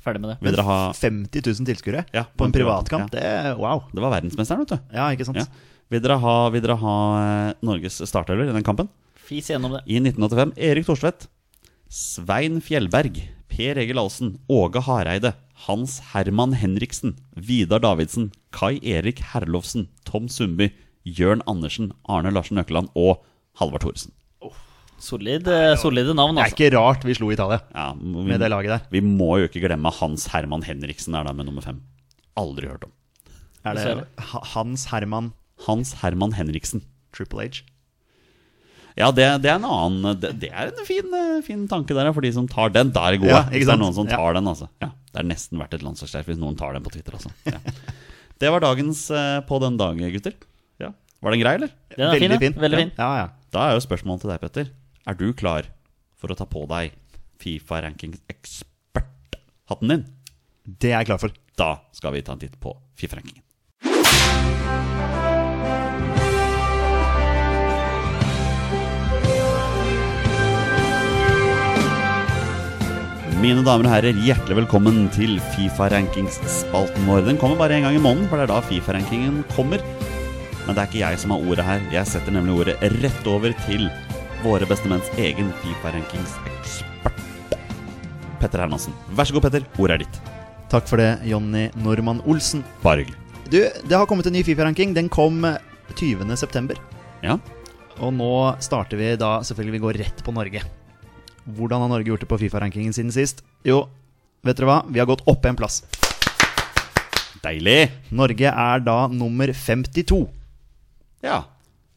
ferdig med det.
Vil dere ha
50 000 tilskuere
Ja,
på en privatkamp, det er wow.
Det var verdensmesteren, vet du.
Ja, ikke sant?
Ja. Vil dere ha, vil dere ha eh, Norges startøler i den kampen?
Fis gjennom det.
I 1985 Erik Thorstvedt, Svein Fjellberg, Per Egil Ahlsen, Åge Hareide, Hans Herman Henriksen, Vidar Davidsen, Kai Erik Herlofsen, Tom Sundby, Jørn Andersen, Arne Larsen Økeland og Halvard Thoresen.
Solid, eh, solide navn,
Det er
altså.
ikke rart vi slo Italia
Ja, vi,
med det laget der.
vi må jo ikke glemme Hans Herman Henriksen er da med nummer fem. Aldri hørt om.
Er
ser det.
det Ha- Hans Herman
Hans Herman Henriksen.
Triple H?
Ja, det, det er en annen Det, det er en fin, eh, fin tanke der, ja, for de som tar den. Da er det gode.
Ja, ikke
hvis det er
sant?
noen som
Ja.
tar den, altså. Ja, det er nesten verdt et landslagsskjerf hvis noen tar den på Twitter, altså. Ja. Det var dagens eh, På den dag, gutter. Ja. Var den grei, eller?
Den er fin,
Veldig
ja.
fin.
Veldig fin.
Ja, ja.
Da er jo spørsmålet til deg, Petter. Er du klar for å ta på deg Fifa-rankings-ekspert-hatten din?
Det er jeg klar for.
Da skal vi ta en titt på Fifa-rankingen. Mine damer og herrer, hjertelig velkommen til Fifa-rankingsspalten vår. Den kommer bare én gang i måneden, for det er da Fifa-rankingen kommer. Men det er ikke jeg som har ordet her. Jeg setter nemlig ordet rett over til våre bestemenns egen Fifa-rankingsekspert. Petter Hermansen. Vær så god, Petter. Ordet er ditt.
Takk for det, Jonny Normann Olsen.
Bare hyggelig.
Du, det har kommet en ny Fifa-ranking. Den kom 20.9.
Ja.
Og nå starter vi da selvfølgelig Vi går rett på Norge. Hvordan har Norge gjort det på Fifa-rankingen siden sist? Jo, vet dere hva? Vi har gått opp en plass.
Deilig!
Norge er da nummer 52.
Ja.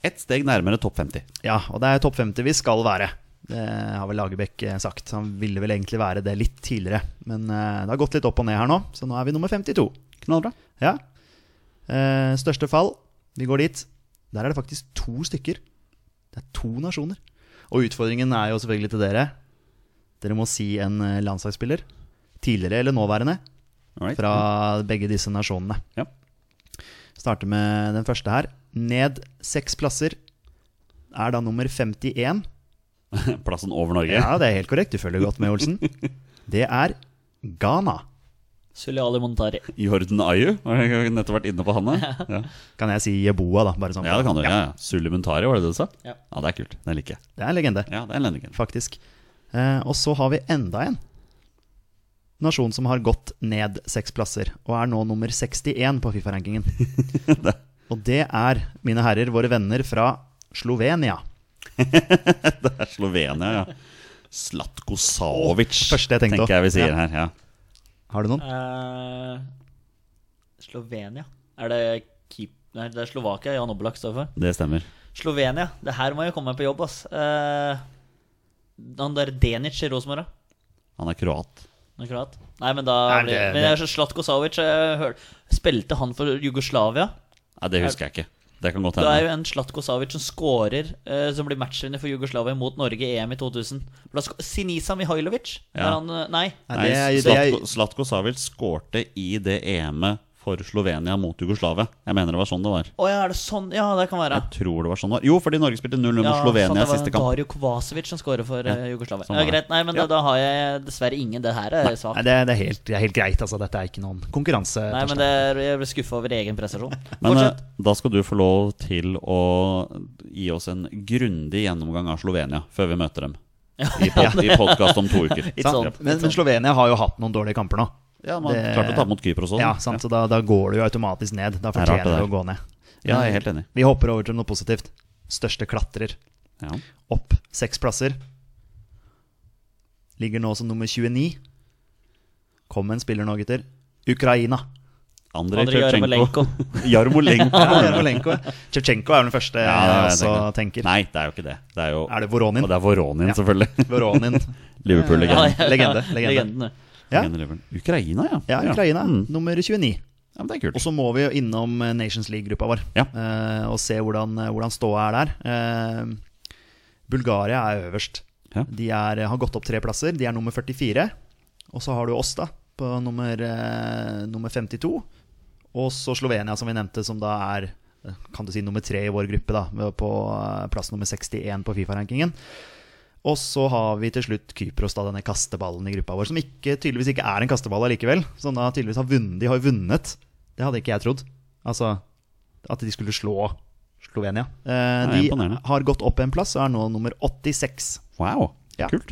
Ett steg nærmere topp 50.
Ja, og det er topp 50 vi skal være. Det har vel Lagerbäck eh, sagt. Han ville vel egentlig være det litt tidligere. Men eh, det har gått litt opp og ned her nå, så nå er vi nummer 52.
Knallbra.
Ja. Eh, største fall. Vi går dit. Der er det faktisk to stykker. Det er to nasjoner. Og utfordringen er jo selvfølgelig til dere. Dere må si en eh, landslagsspiller. Tidligere eller nåværende.
Alright.
Fra begge disse nasjonene.
Ja.
Starter med den første her. Ned seks plasser. Er da nummer 51.
[laughs] Plassen over Norge.
Ja, det er helt korrekt. Du følger godt med, Olsen. Det er Ghana.
Suliali Montari.
[laughs] Jordan Ayu. Har jeg nettopp vært inne på
[laughs]
han? Ja. Ja.
Kan jeg si Jeboa, da? Bare sånn.
ja, det kan du. Ja, ja. Sulimentari, var det det du sa?
Ja.
ja, det er kult. Den liker jeg.
Det er en legende.
Ja, det er en lendingen.
faktisk. Eh, og så har vi enda en nasjon som har gått ned seks plasser, og er nå nummer 61 på
[laughs]
Fifa-rankingen. og det er, mine herrer, våre venner fra Slovenia.
Det er Slovenia, ja. Slatko Saovic,
første jeg tenkte også.
tenker jeg vi sier
Ja.
her. Ja.
Har du noen?
Eh, Slovenia. Er det keep... Nei, det er Slovakia Jan Oblak står for.
Det stemmer.
Slovenia. Det her må jo komme meg på jobb, ass. Eh, han der Denic i Rosenborg, da.
Han er kroat.
Det er klart. Nei, men da
Nei,
blir,
det-
Men jeg er så Slatko Savic jeg hør, Spilte han for Jugoslavia?
Nei, det husker jeg ikke. Det kan godt
Det er
hende.
jo en Slatko Savic som scorer, eh, som blir matchvinner for Jugoslavia mot Norge i EM i 2000. Da sk- Sinisa Mihailovic?
Ja.
Er han, eh, nei.
Nei,
Nei,
det er, det er,
Slatko, Slatko Savic skårte i det EM-et for Slovenia mot Jugoslavia. Jeg mener det var sånn det var.
Å ja, er det sånn? Ja, det kan være.
Jeg tror det var sånn det var. Jo, fordi Norge spilte 0-0 mot
Ja,
Slovenia i
sant,
siste
Det
kamp.
var Dario Kovacevic som skårer for eh, Jugoslavia.
sånn
ja,
var det.
greit, nei, men
Ja.
da, da har jeg dessverre ingen. Det her er
nei,
svakt.
det, er- det, er helt, det er helt greit. Altså, dette er ikke noen konkurranse.
Nei, men det er, jeg ble skuffa over egen prestasjon.
Men eh,
Fortsett.
da skal du få lov til å gi oss en grundig gjennomgang av Slovenia før vi møter dem. I,
[laughs]
pod i podkast om to uker.
It's on.
Sant? Men, men Slovenia har jo hatt noen dårlige kamper nå.
Ja, man
Det-
klarte sånn- å ta mot Kypros også.
Ja, sant? Så da, da går det jo automatisk ned. Da
er rart det
fortjener det å
der.
gå ned.
Ja, jeg er helt enig.
Vi hopper over til noe positivt. Største klatrer.
Ja.
Opp seks plasser. Ligger nå som nummer 29. Kom en spiller nå, gutter.
[laughs]
Ukraina.
Andrej
Andrej
Jarmolenko. [laughs]
[laughs]
Jarmolenko.
Jarmolenko.
Jarmolenko Tsjetsjenko er den første
Ja, det er
jeg
det
også
jeg
tenker.
Nei, det er jo ikke det. Det er jo
Er det Voronin?
Og det er Voronin,
Ja. [laughs]
selvfølgelig. [laughs]
Voronin.
Liverpool-legenden.
[laughs] Ja, ja.
Legende, legende.
Legenden, ja.
Ja.
Mener Liverpool. Ukraina, ja.
Ja, Ukraina.
Mm.
Nummer 29.
Ja, men det er kult.
Og så må vi jo innom eh, Nations League-gruppa vår
Ja.
eh, og se hvordan, eh, hvordan ståa er der. Eh, Bulgaria er øverst.
Ja.
De er, eh, har gått opp tre plasser. De er nummer 44. Og så har du oss, da, på nummer, eh, nummer 52. Og så Slovenia, som vi nevnte, som da er eh, kan du si nummer tre i vår gruppe, da, med- på eh, plass nummer 61 på Fifa-rankingen. Og så har vi til slutt Kypros, da, denne kasteballen i gruppa vår, som ikke, tydeligvis ikke er en kasteball allikevel. Som da tydeligvis har vunnet. De har jo vunnet. Det hadde ikke jeg trodd. Altså at de skulle slå Slovenia. Eh,
Det er
de
imponerende.
har gått opp en plass og er nå nummer 86.
Wow,
Ja.
kult.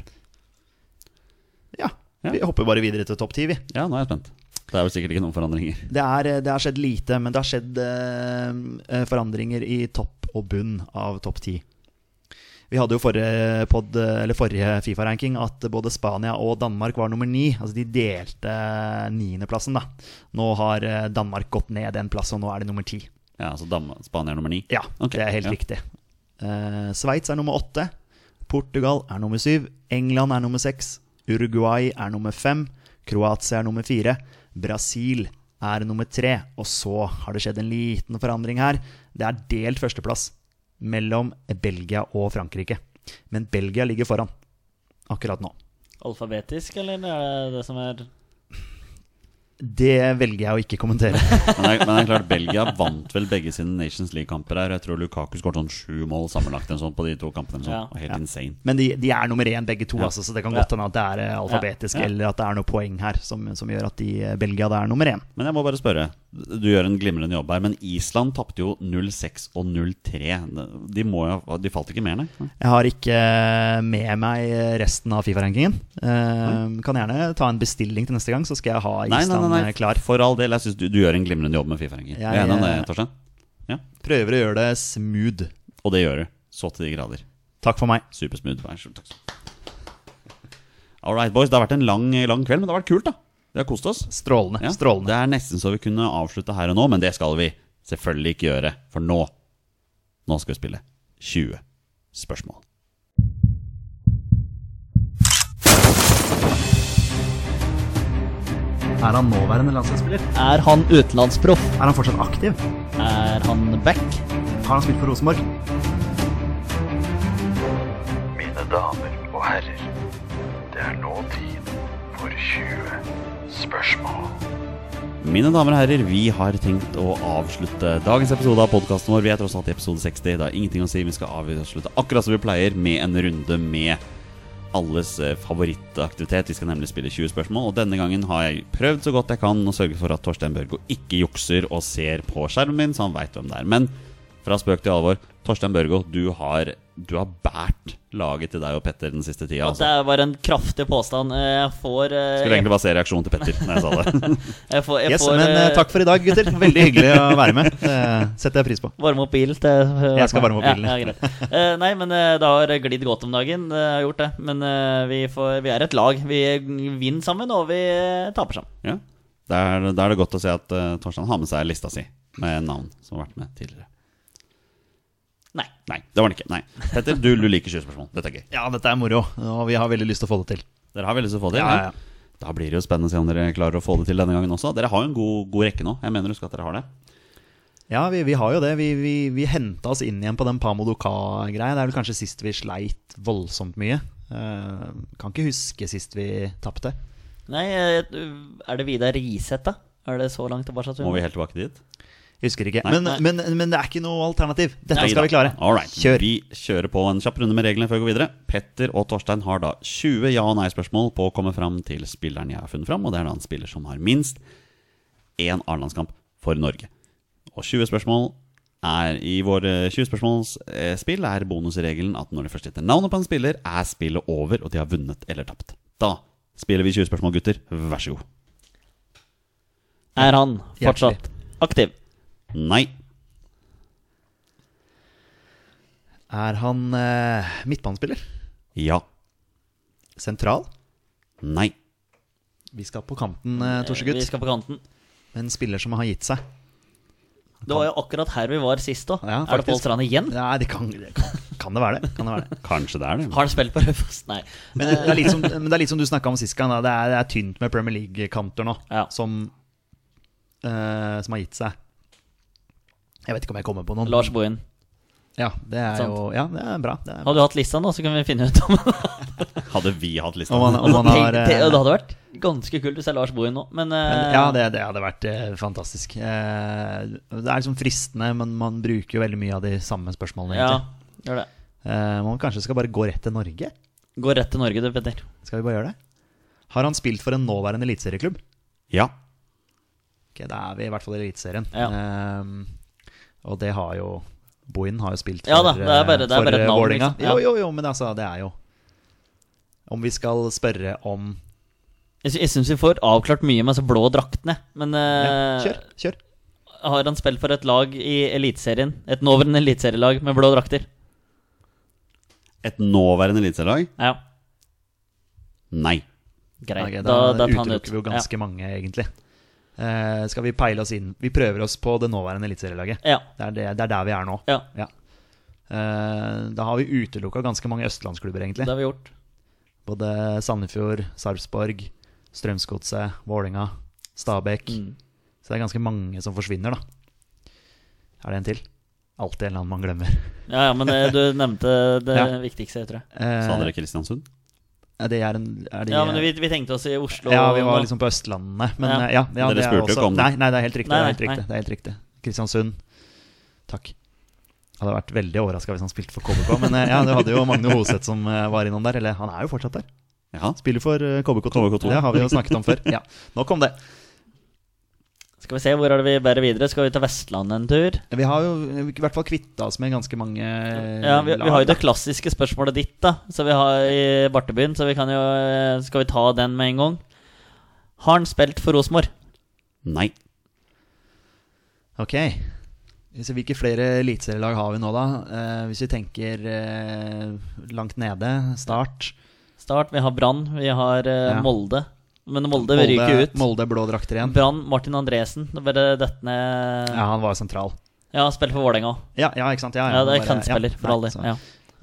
Ja.
Ja.
Vi hopper bare videre til topp ti, vi.
Ja, nå er jeg spent. Det er vel sikkert ikke noen forandringer.
Det, er, eh, det har skjedd lite, men det har skjedd eh, forandringer i topp og bunn av topp ti. Vi hadde jo forrige, podd- eller forrige Fifa-ranking at både Spania og Danmark var nummer ni. Altså de delte eh, niendeplassen, da. Nå har eh, Danmark gått ned en plass, og nå er de nummer ti.
Ja, altså Dam Spania er nummer ni.
Ja,
Ok,
det er helt
ja.
riktig. Eh, Sveits er nummer åtte. Portugal er nummer syv. England er nummer seks. Uruguay er nummer fem. Kroatia er nummer fire. Brasil er nummer tre. Og så har det skjedd en liten forandring her. Det er delt førsteplass mellom Belgia og Frankrike. Men Belgia ligger foran akkurat nå.
Alfabetisk, eller er det det som er
Det velger jeg å ikke
[laughs]
kommentere.
Men det, er, men det er klart, Belgia vant vel begge sine Nations League-kamper her. Jeg tror Lukaku skåret sånn sju mål sammenlagt en sånn på de to kampene. Sånn.
Ja.
Og Helt insane.
Men de, de er nummer én, begge to, altså, så det kan godt hende at det er eh, alfabetisk, eller at det er noe poeng her som, som gjør at de, eh, Belgia da er nummer én.
Men jeg må bare spørre. Du gjør en glimrende jobb her, men Island tapte jo 0-6 og 0-3. De, må jo- de falt ikke mer, nei?
Jeg har ikke med meg resten av Fifa-rankingen. Eh, kan gjerne ta en bestilling til neste gang, så skal jeg ha
Nei,
Island
nei, nei, nei.
klar.
For all del, jeg syns du, du gjør en glimrende jobb med Fifa-ringer.
Jeg-
Jeg er enig om det, Torstein. Ja.
Prøver å gjøre det smooth.
Og det gjør du. Så til de grader.
Takk for meg.
Supersmooth. Vær så takk. All right, boys. Det har vært en lang, lang kveld, men det har vært kult, da. Vi har kost oss.
Strålende.
Ja,
Strålende.
Det er nesten så vi kunne avslutte her og nå, men det skal vi selvfølgelig ikke gjøre. For nå Nå skal vi spille 20 spørsmål.
Er han nåværende landslagsspiller?
Er han utenlandsproff?
Er han fortsatt aktiv?
Er han back?
Har han spilt for Rosenborg?
Mine damer og herrer, det er nå tid for 20 spørsmål.
Mine damer og herrer, vi har tenkt å avslutte dagens episode av podkasten vår. Vi er tross alt i episode 60. Det har ingenting å si. Vi skal avslutte akkurat som vi pleier, med en runde med alles eh, favorittaktivitet. Vi skal nemlig spille 20 spørsmål, og denne gangen har jeg prøvd så godt jeg kan å sørge for at Torstein Børgo ikke jukser og ser på skjermen min, så han veit hvem det er. Men fra spøk til alvor, Torstein Børgo, du har, du har bært laget til deg og Petter den siste tida.
Det
Altså.
var en kraftig påstand. Eh, Jeg får eh,
Skulle egentlig bare se reaksjonen til Petter når jeg sa det. [laughs]
Jeg får, jeg
Yes,
får
men eh,
eh,
takk for i dag, gutter. Veldig hyggelig å være med. Det setter jeg pris på.
varme opp bil til
Jeg skal varme opp bilen.
Ja, ja, greit. Eh, nei, men eh, det har glidd godt om dagen. Det har gjort det. Men eh, vi, får, vi er et lag. Vi vinner sammen, og vi eh, taper sammen.
Ja. Da er, da er det godt å se at eh, Torstein har med seg lista si med navn som har vært med tidligere.
Nei.
Nei, det var det ikke. Nei. Petter, du, du liker 20 spørsmål. Dette er gøy.
Ja, dette er moro, og vi har veldig lyst til å få det til.
Dere har veldig lyst til å få det.
Ja, ja, ja.
Da blir det jo spennende å se om dere klarer å få det til denne gangen også. Dere har jo en god, god rekke nå. Jeg mener husk at dere har det.
Ja, vi, vi har jo det. Vi, vi, vi henta oss inn igjen på den Pamodoka-greia. Det er vel kanskje sist vi sleit voldsomt mye. Eh, kan ikke huske sist vi tapte.
Nei, eh, er det Vidar Riseth, da? Er det så langt tilbake? at vi
Må vi helt tilbake dit?
Husker ikke.
Nei.
men, Men, men det er ikke noe alternativ. Dette
Nei da.
skal vi klare.
All right.
Kjør.
Vi kjører på en kjapp runde med reglene før vi går videre. Petter og Torstein har da 20 ja- og nei-spørsmål på å komme fram til spilleren jeg har funnet fram, og det er da en spiller som har minst én A-landskamp for Norge. Og 20 spørsmål er i eh, våre 20 spørsmålsspill eh, er bonusregelen at når det først heter navnet på en spiller, er spillet over, og de har vunnet eller tapt. Da spiller vi 20 spørsmål, gutter. Vær så god.
Er han fortsatt aktiv?
Nei.
Er han eh, midtbanespiller?
Ja.
Sentral?
Nei.
Vi skal på kanten, eh,
Vi
Torsegutt.
skal på kanten.
En spiller som har gitt seg.
Det var jo akkurat her vi var sist òg.
Ja,
er det Pål
faktisk.
Strand igjen?
Nei, det kan, det kan, kan det være det? Kan det være det?
Kanskje det er det.
Har han spilt på Raufoss?
[laughs]
Nei.
Men eh, det er litt som, men det er litt som du snakka om sist gang. da. Det er, det er tynt med Premier League-kanter nå,
Ja.
som, eh, som har gitt seg. Jeg vet ikke om jeg kommer på noen.
Lars Bohin.
Ja, det er
Sant.
jo ja, det er bra. Det er,
Hadde du hatt lista nå, så kunne vi finne ut om
Hadde vi hatt lista.
om han, om han har
Tenk-
eh,
tenk- Det hadde vært ganske kult hvis det er Lars Bohin nå, men eh,
Ja, det, det hadde vært eh, fantastisk. Eh, det er liksom fristende, men man bruker jo veldig mye av de samme spørsmålene.
ja,
egentlig.
gjør det.
Eh, man kanskje skal bare gå rett til Norge?
Gå rett til Norge, du, Petter.
Skal vi bare gjøre det? Har han spilt for en nåværende eliteserieklubb?
Ja.
Ok, da er vi i hvert fall i Eliteserien. Eh, og det har jo Bohin har jo spilt for,
Ja da, det er bare- det er
eh, for
bare et
eh,
navn,
Vålerenga.
liksom. Ja.
Jo, jo, jo, men altså, det er jo Om vi skal spørre om
Jeg, sy- jeg syns vi får avklart mye med disse blå draktene, men
ja,
eh,
Kjør, kjør.
har han spilt for et lag i Eliteserien? Et nåværende eliteserielag med blå drakter?
Et nåværende eliteserielag?
Ja,
Nei.
greit.
Ok,
da, da tar han ut.
utelukker vi jo ganske mange, egentlig. Eh, skal vi peile oss inn Vi prøver oss på det nåværende eliteserielaget.
Ja.
Det, er det, det er der vi er nå.
ja,
Ja. Eh, da har vi utelukka ganske mange østlandsklubber,
ja, det
egentlig.
har vi gjort.
Både Sandefjord, Sarpsborg, Strømsgodset, Vålinga, Stabæk.
Mm.
Så det er ganske mange som forsvinner, da. Er det en til? Alltid en eller annen man glemmer.
Ja, ja, men eh, du nevnte det
Ja.
viktigste, tror jeg.
Sa
Eh,
dere Kristiansund?
er det er en, er det,
Ja, men vi, vi tenkte oss i Oslo.
Ja, vi var
nå.
liksom på Østlandene. Men
Ja.
eh, ja, ja
Dere
det er
spurte jo
også-
ikke om det.
Nei, nei, det er helt riktig.
Nei,
det, er
nei,
helt riktig det er helt riktig. Kristiansund. Takk. Hadde vært veldig overraska hvis han spilte for KBK, men eh, ja, du hadde jo Magne Hoseth som eh, var innom der. Eller han er jo fortsatt der.
Ja.
Spiller for eh, KBK2.
KBK2.
Det har vi jo snakket om
[laughs]
før. Ja, Nå kom det.
Skal vi se, hvor er det vi bærer videre? Skal vi til Vestlandet en tur?
Vi har jo i hvert fall kvitta oss med ganske mange eh,
Ja, vi, vi har
lag,
jo det
da.
klassiske spørsmålet ditt, da. Så vi har i Bartebyen, så vi kan jo eh, Skal vi ta den med en gang? Har han spilt for Rosenborg?
Nei.
Ok. Så hvilke flere eliteserielag har vi nå, da? Eh, hvis vi tenker eh, langt nede, Start
Start, vi har Brann, vi har eh,
Ja.
Molde. Men Molde, vi ryker ut.
Molde blå drakter igjen.
Brann, Martin Andresen. Det bare dette ned
Ja,
Ja,
han var jo sentral.
spiller for Vålerenga òg.
Ja, ja, ikke sant? Ja,
Ja,
han
det er
bare-
kantspiller,
ja,
for
nei,
all del.
så-
Ja.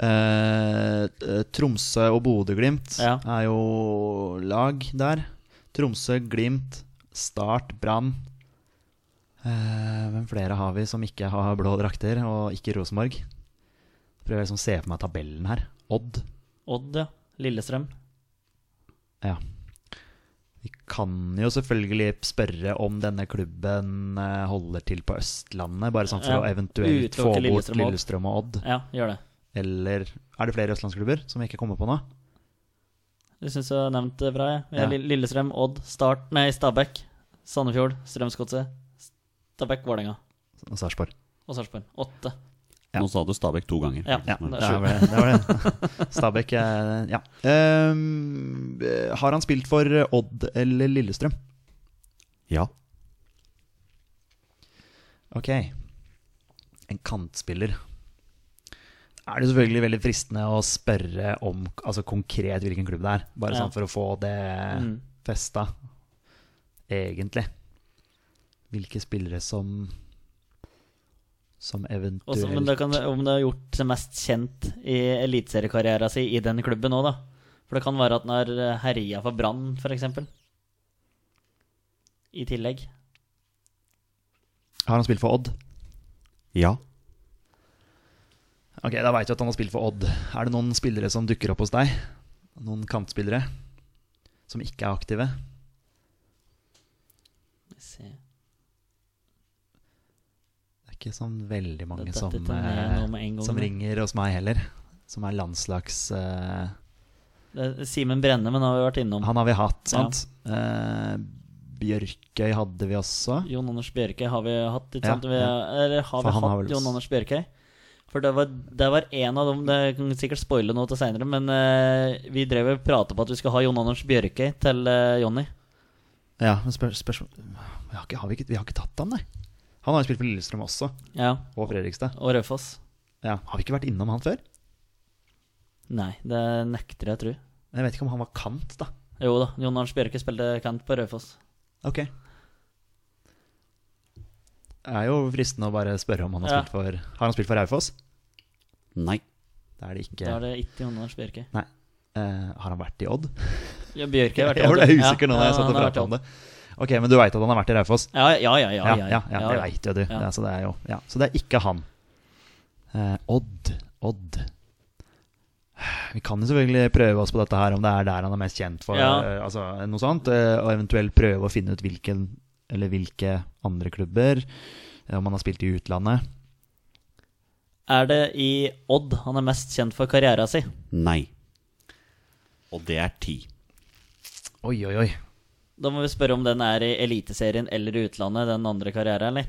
Eh, eh, Tromsø og Bodø-Glimt
Ja.
er jo lag der. Tromsø, Glimt, Start, Brann. Eh, hvem flere har vi som ikke har blå drakter, og ikke Rosenborg? Prøver jeg liksom å se for meg tabellen her. Odd.
Odd, ja. Lillestrøm.
Ja. Vi kan jo selvfølgelig spørre om denne klubben eh, holder til på Østlandet, bare sånn for
Ja.
å eventuelt
Utelukke
få bort
Lillestrøm og Odd.
Lillestrøm og Odd.
Ja, gjør det.
Eller er det flere østlandsklubber som vi ikke kommer på nå?
Du syns jeg har nevnt det bra, jeg. Vi har
Ja.
Lill- Lillestrøm, Odd, Start Nei, Stabæk. Sandefjord, Strømsgodset. Stabæk, Vålerenga
Og Sarpsborg.
og Sarpsborg. Åtte.
Ja.
Nå sa du Stabæk to ganger.
Ja.
Ja,
det
det
er
var det. det, var det.
[laughs]
Stabæk eh, Ja. Ehm, eh, har han spilt for Odd eller Lillestrøm?
Ja.
Ok. En kantspiller. Er det selvfølgelig veldig fristende å spørre om altså konkret hvilken klubb det er? Bare
Ja.
sånn for å få det
Mm.
festa, egentlig. Hvilke spillere som Som eventuelt
Også, men da kan, det- om du har gjort seg mest kjent i eliteseriekarrieren sin i den klubben òg, da. For det kan være at han har herja for eh, Brann, f.eks. i tillegg.
Har han spilt for Odd?
Ja.
Ok, Da veit du at han har spilt for Odd. Er det noen spillere som dukker opp hos deg? Noen kantspillere som ikke er aktive?
Skal vi se.
Det er ikke sånn veldig mange
Det
som,
datt ikke ned
eh,
noe med en gang,
som
men-
ringer hos meg heller. Som er landslags... eh,
Det er Simen Brenne, men har vi vært innom.
han har vi hatt, sant? Eh, Bjørkøy hadde vi også.
Jon Anders Bjørkøy har vi hatt, ikke
Ja,
sant? Vi,
ja.
Eller
For
har vi
han
hatt
har vel-
Jon Anders Bjørkøy? For det var, det var en av dem Det jeg kan sikkert spoile noe til seinere, men eh, vi drev og prata på at vi skal ha Jon Anders Bjørkøy til eh, Jonny.
Ja, men spør, spørsmål- vi, har ikke, har vi, ikke, vi har ikke tatt han, nei. Han har jo spilt for Lillestrøm også,
Ja.
og Fredrikstad.
Og Raufoss.
Ja. Har vi ikke vært innom han før?
Nei, det nekter jeg å tro.
Jeg vet ikke om han var kant, da.
Jo da, Jon Anders Bjørke spilte kant på Raufoss.
Ok. Det er jo fristende å bare spørre om han har
Ja.
spilt for Har han spilt for Raufoss?
Nei.
Det er det ikke.
Da er det ikke Jon Anders Bjørke.
Nei. Eh, har han vært i Odd?
Ja, Bjørke har vært
[laughs] Jeg ble
i Odd.
usikker nå
Ja,
når jeg
ja,
satt og
han har vært i
pratet om
Odd.
det. Ok, men du veit at han har vært i Raufoss?
Ja, ja, ja. ja,
Ja, ja, ja, det veit jo du.
Ja.
Ja, så det er jo ja. Så det er ikke han. Eh, Odd. Odd. Vi kan jo selvfølgelig prøve oss på dette her, om det er der han er mest kjent for,
Ja.
eh, altså noe sånt. eh, Og eventuelt prøve å finne ut hvilken eller hvilke andre klubber. eh, Om han har spilt i utlandet.
Er det i Odd han er mest kjent for karriera si?
Nei. Og det er ti.
Oi, oi, oi.
Da må vi spørre om den er i Eliteserien eller i utlandet, den andre karrieren, eller?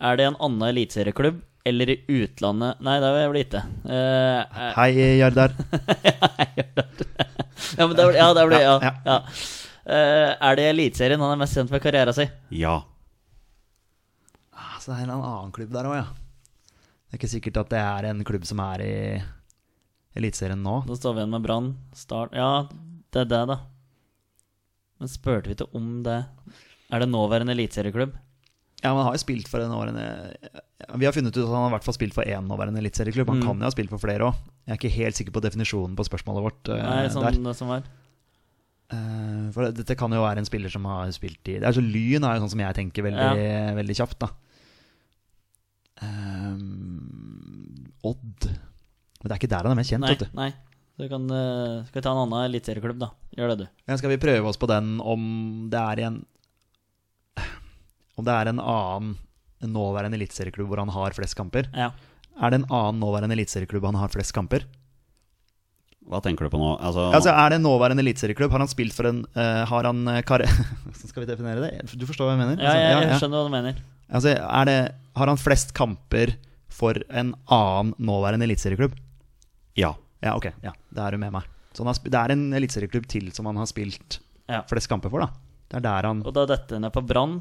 Er det en annen eliteserieklubb eller i utlandet Nei, det blir det ikke. Eh, eh,
Hei, Jardar.
ja, men det blir Ja. Det blir, ja,
Ja,
ja. Eh, er det i Eliteserien han er mest kjent for karriera si?
Ja.
Ah, Så det er en annen klubb der òg, ja. Det er ikke sikkert at det er en klubb som er i Eliteserien nå.
Da står vi igjen med Brann, Start Ja, det er det, da. Men spurte vi ikke om det? Er det nåværende eliteserieklubb?
Ja, men han har jo spilt for en årene Vi har funnet ut at han har i hvert fall spilt for én nåværende eliteserieklubb.
Mm.
Han kan jo ha spilt for flere òg. Jeg er ikke helt sikker på definisjonen på spørsmålet vårt. eh,
Nei, sånn
der.
det som var.
Eh, for dette kan jo være en spiller som har spilt i altså, Lyn er jo sånn som jeg tenker veldig, veldig kjapt, da. Ehm, Odd Men det er ikke der han er mest kjent,
Nei.
vet du.
nei. Du kan, eh, skal vi ta en annen eliteserieklubb, da? Gjør det, du.
Ja, skal vi prøve oss på den om det er en Om det er en annen nåværende eliteserieklubb hvor han har flest kamper?
Ja.
Er det en annen nåværende eliteserieklubb han har flest kamper?
Hva tenker du på nå? Altså,
Altså, Er det en nåværende eliteserieklubb? Har han spilt for en eh, Har han eh, kar... [laughs] Hvordan skal vi definere det? Du forstår hva jeg mener?
Ja,
Altså,
jeg,
ja, ja.
jeg skjønner hva du mener.
Altså, er det, har han flest kamper for en annen nåværende eliteserieklubb?
Ja.
Ja, ok. Ja, Da er du med meg. Så han har, sp- det er en eliteserieklubb til som han har spilt
Ja.
flest kamper for, da. Det er der han
Og da detter ned på Brann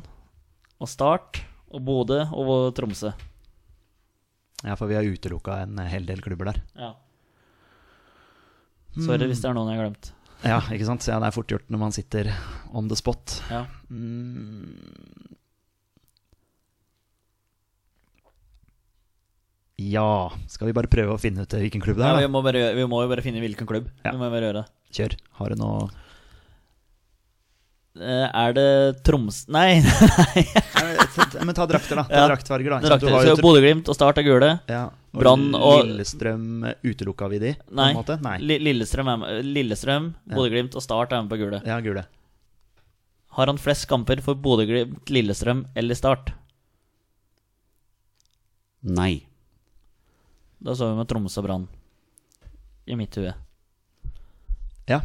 og Start og Bodø og Tromsø.
Ja, for vi har utelukka en hel del klubber der.
Ja. Sorry
Hmm.
hvis det er noen jeg har glemt.
Ja, ikke sant? Ja, det er fort gjort når man sitter on the spot.
Ja.
Mm. Ja, skal vi bare prøve å finne ut eh, hvilken klubb det
Ja,
er?
vi, må bare, gjøre- vi må jo bare finne hvilken klubb.
Ja.
Vi må jo bare gjøre det.
da? Kjør. Har du noe
Eh, Er det Troms... Nei, [laughs]
Men ta drakter, da. Ta
Ja.
draktfarger, da.
drakter.
Du har
Så
jo tr-
Bodø-Glimt og Start er gule.
ja. og
Brann og-
Lillestrøm eh, utelukka vi de? På
Nei.
en måte? Nei.
Li- Lillestrøm, er med- Lillestrøm Bodø-Glimt og Start er med på gule.
Ja, gule.
Har han flest kamper for Bodø-Glimt, Lillestrøm eller Start?
Nei.
Da så vi med Tromsø og Brann i mitt hue.
Ja,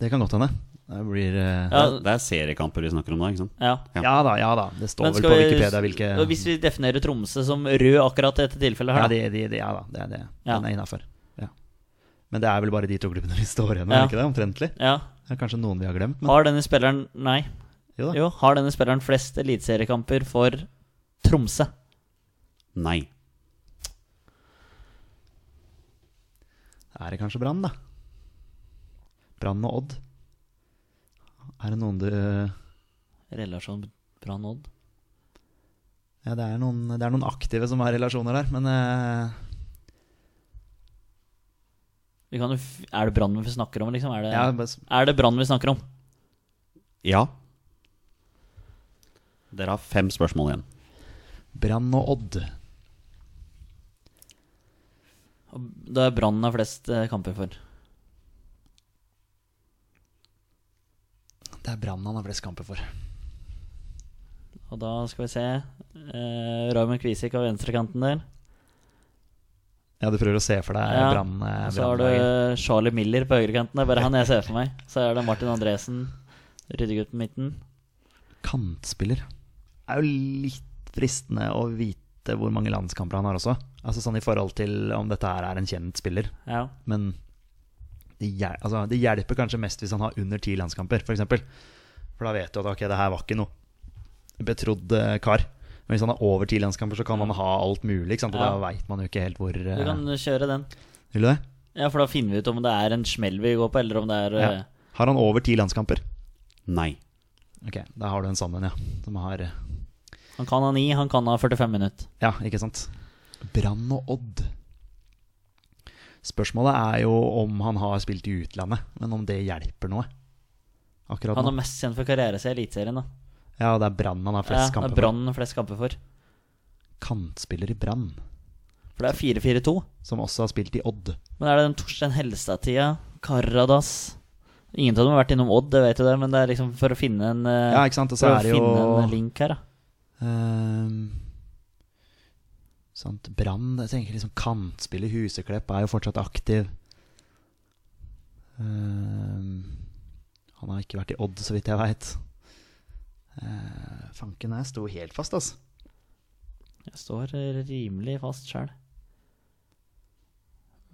det kan godt hende. Det blir eh,
Ja,
Det er seriekamper vi snakker om da, ikke sant?
ja.
ja.
ja da, ja da. Det står
Men
vel
skal
på
vi-
Wikipedia hvilke
og Hvis vi definerer Tromsø som rød akkurat i dette tilfellet
Ja,
her, da.
de, de, de, ja da, det er det.
Ja.
Den er innafor. Ja. Men det er vel bare de to klubbene vi står igjen med,
Ja.
er ikke det? Omtrentlig.
Ja.
Det er kanskje noen vi har glemt, men
Har denne spilleren Nei.
jo da.
Jo, har denne spilleren flest eliteseriekamper for Tromsø?
Nei.
Er det kanskje Brann, da? Brann og Odd. Er det noen du Ja,
Relasjon Brann Odd?
det er noen, det er noen aktive som har relasjoner der, men eh,
Vi kan jo f er det Brann vi snakker om, liksom? Er det,
ja, bare s-
er det Brann vi snakker om?
Ja. Dere har fem spørsmål igjen.
Brann og Odd.
Da Brann har flest eh, kamper for.
Det er Brann han har flest kamper for.
Og da skal vi se eh, Raymond Kvisik av venstrekanten der.
Ja, du prøver å se for deg
Ja.
Brann. eh,
Og Så har
Brannlaget.
du Charlie Miller på høyrekanten. Det er bare han jeg ser for meg. Så er det Martin Andresen, ryddegutten midten.
Kantspiller. Det er jo litt fristende å vite hvor mange landskamper han har også. Altså sånn i forhold til om dette her er en kjent spiller.
Ja.
Men det, hjel altså, det hjelper kanskje mest hvis han har under ti landskamper, f.eks. For, eksempel. for da vet du at ok, det her var ikke noe betrodd eh, kar. Men hvis han har over ti landskamper, så kan han ha alt mulig. Ikke sant? Og
Ja.
da veit man jo ikke helt hvor
Du
eh,
kan kjøre den.
Vil du det?
Ja, for da finner vi ut om det er en smell vi går på, eller om det er
Ja.
eh,
Har han over ti landskamper?
Nei.
Ok, da har du en sammen, ja. Som har eh,
Han kan ha ni, han kan ha 45 minutter.
Ja, ikke sant? Brann og Odd. Spørsmålet er jo om han har spilt i utlandet, men om det hjelper noe. Akkurat
Han er
nå.
mest kjent for karriere seg i Eliteserien, da.
Ja, det er Brann han har
Ja,
flest
det er
kamper for.
Brann flest kamper for.
Kantspiller i Brann,
For det er 4-4-2.
som også har spilt i Odd.
Men er det den Torstein Helstad-tida? Karadas? Ingen av dem har vært innom Odd, det vet du det, men det er liksom for å finne en eh,
Ja, ikke sant, og så
For å
er det jo
finne en link her, da.
ehm, Sant, Brann Jeg tenker liksom kantspiller Huseklepp er jo fortsatt aktiv. Ehm, han har ikke vært i Odd, så vidt jeg veit. fanken, jeg sto helt fast, altså.
Jeg står eh, rimelig fast sjøl.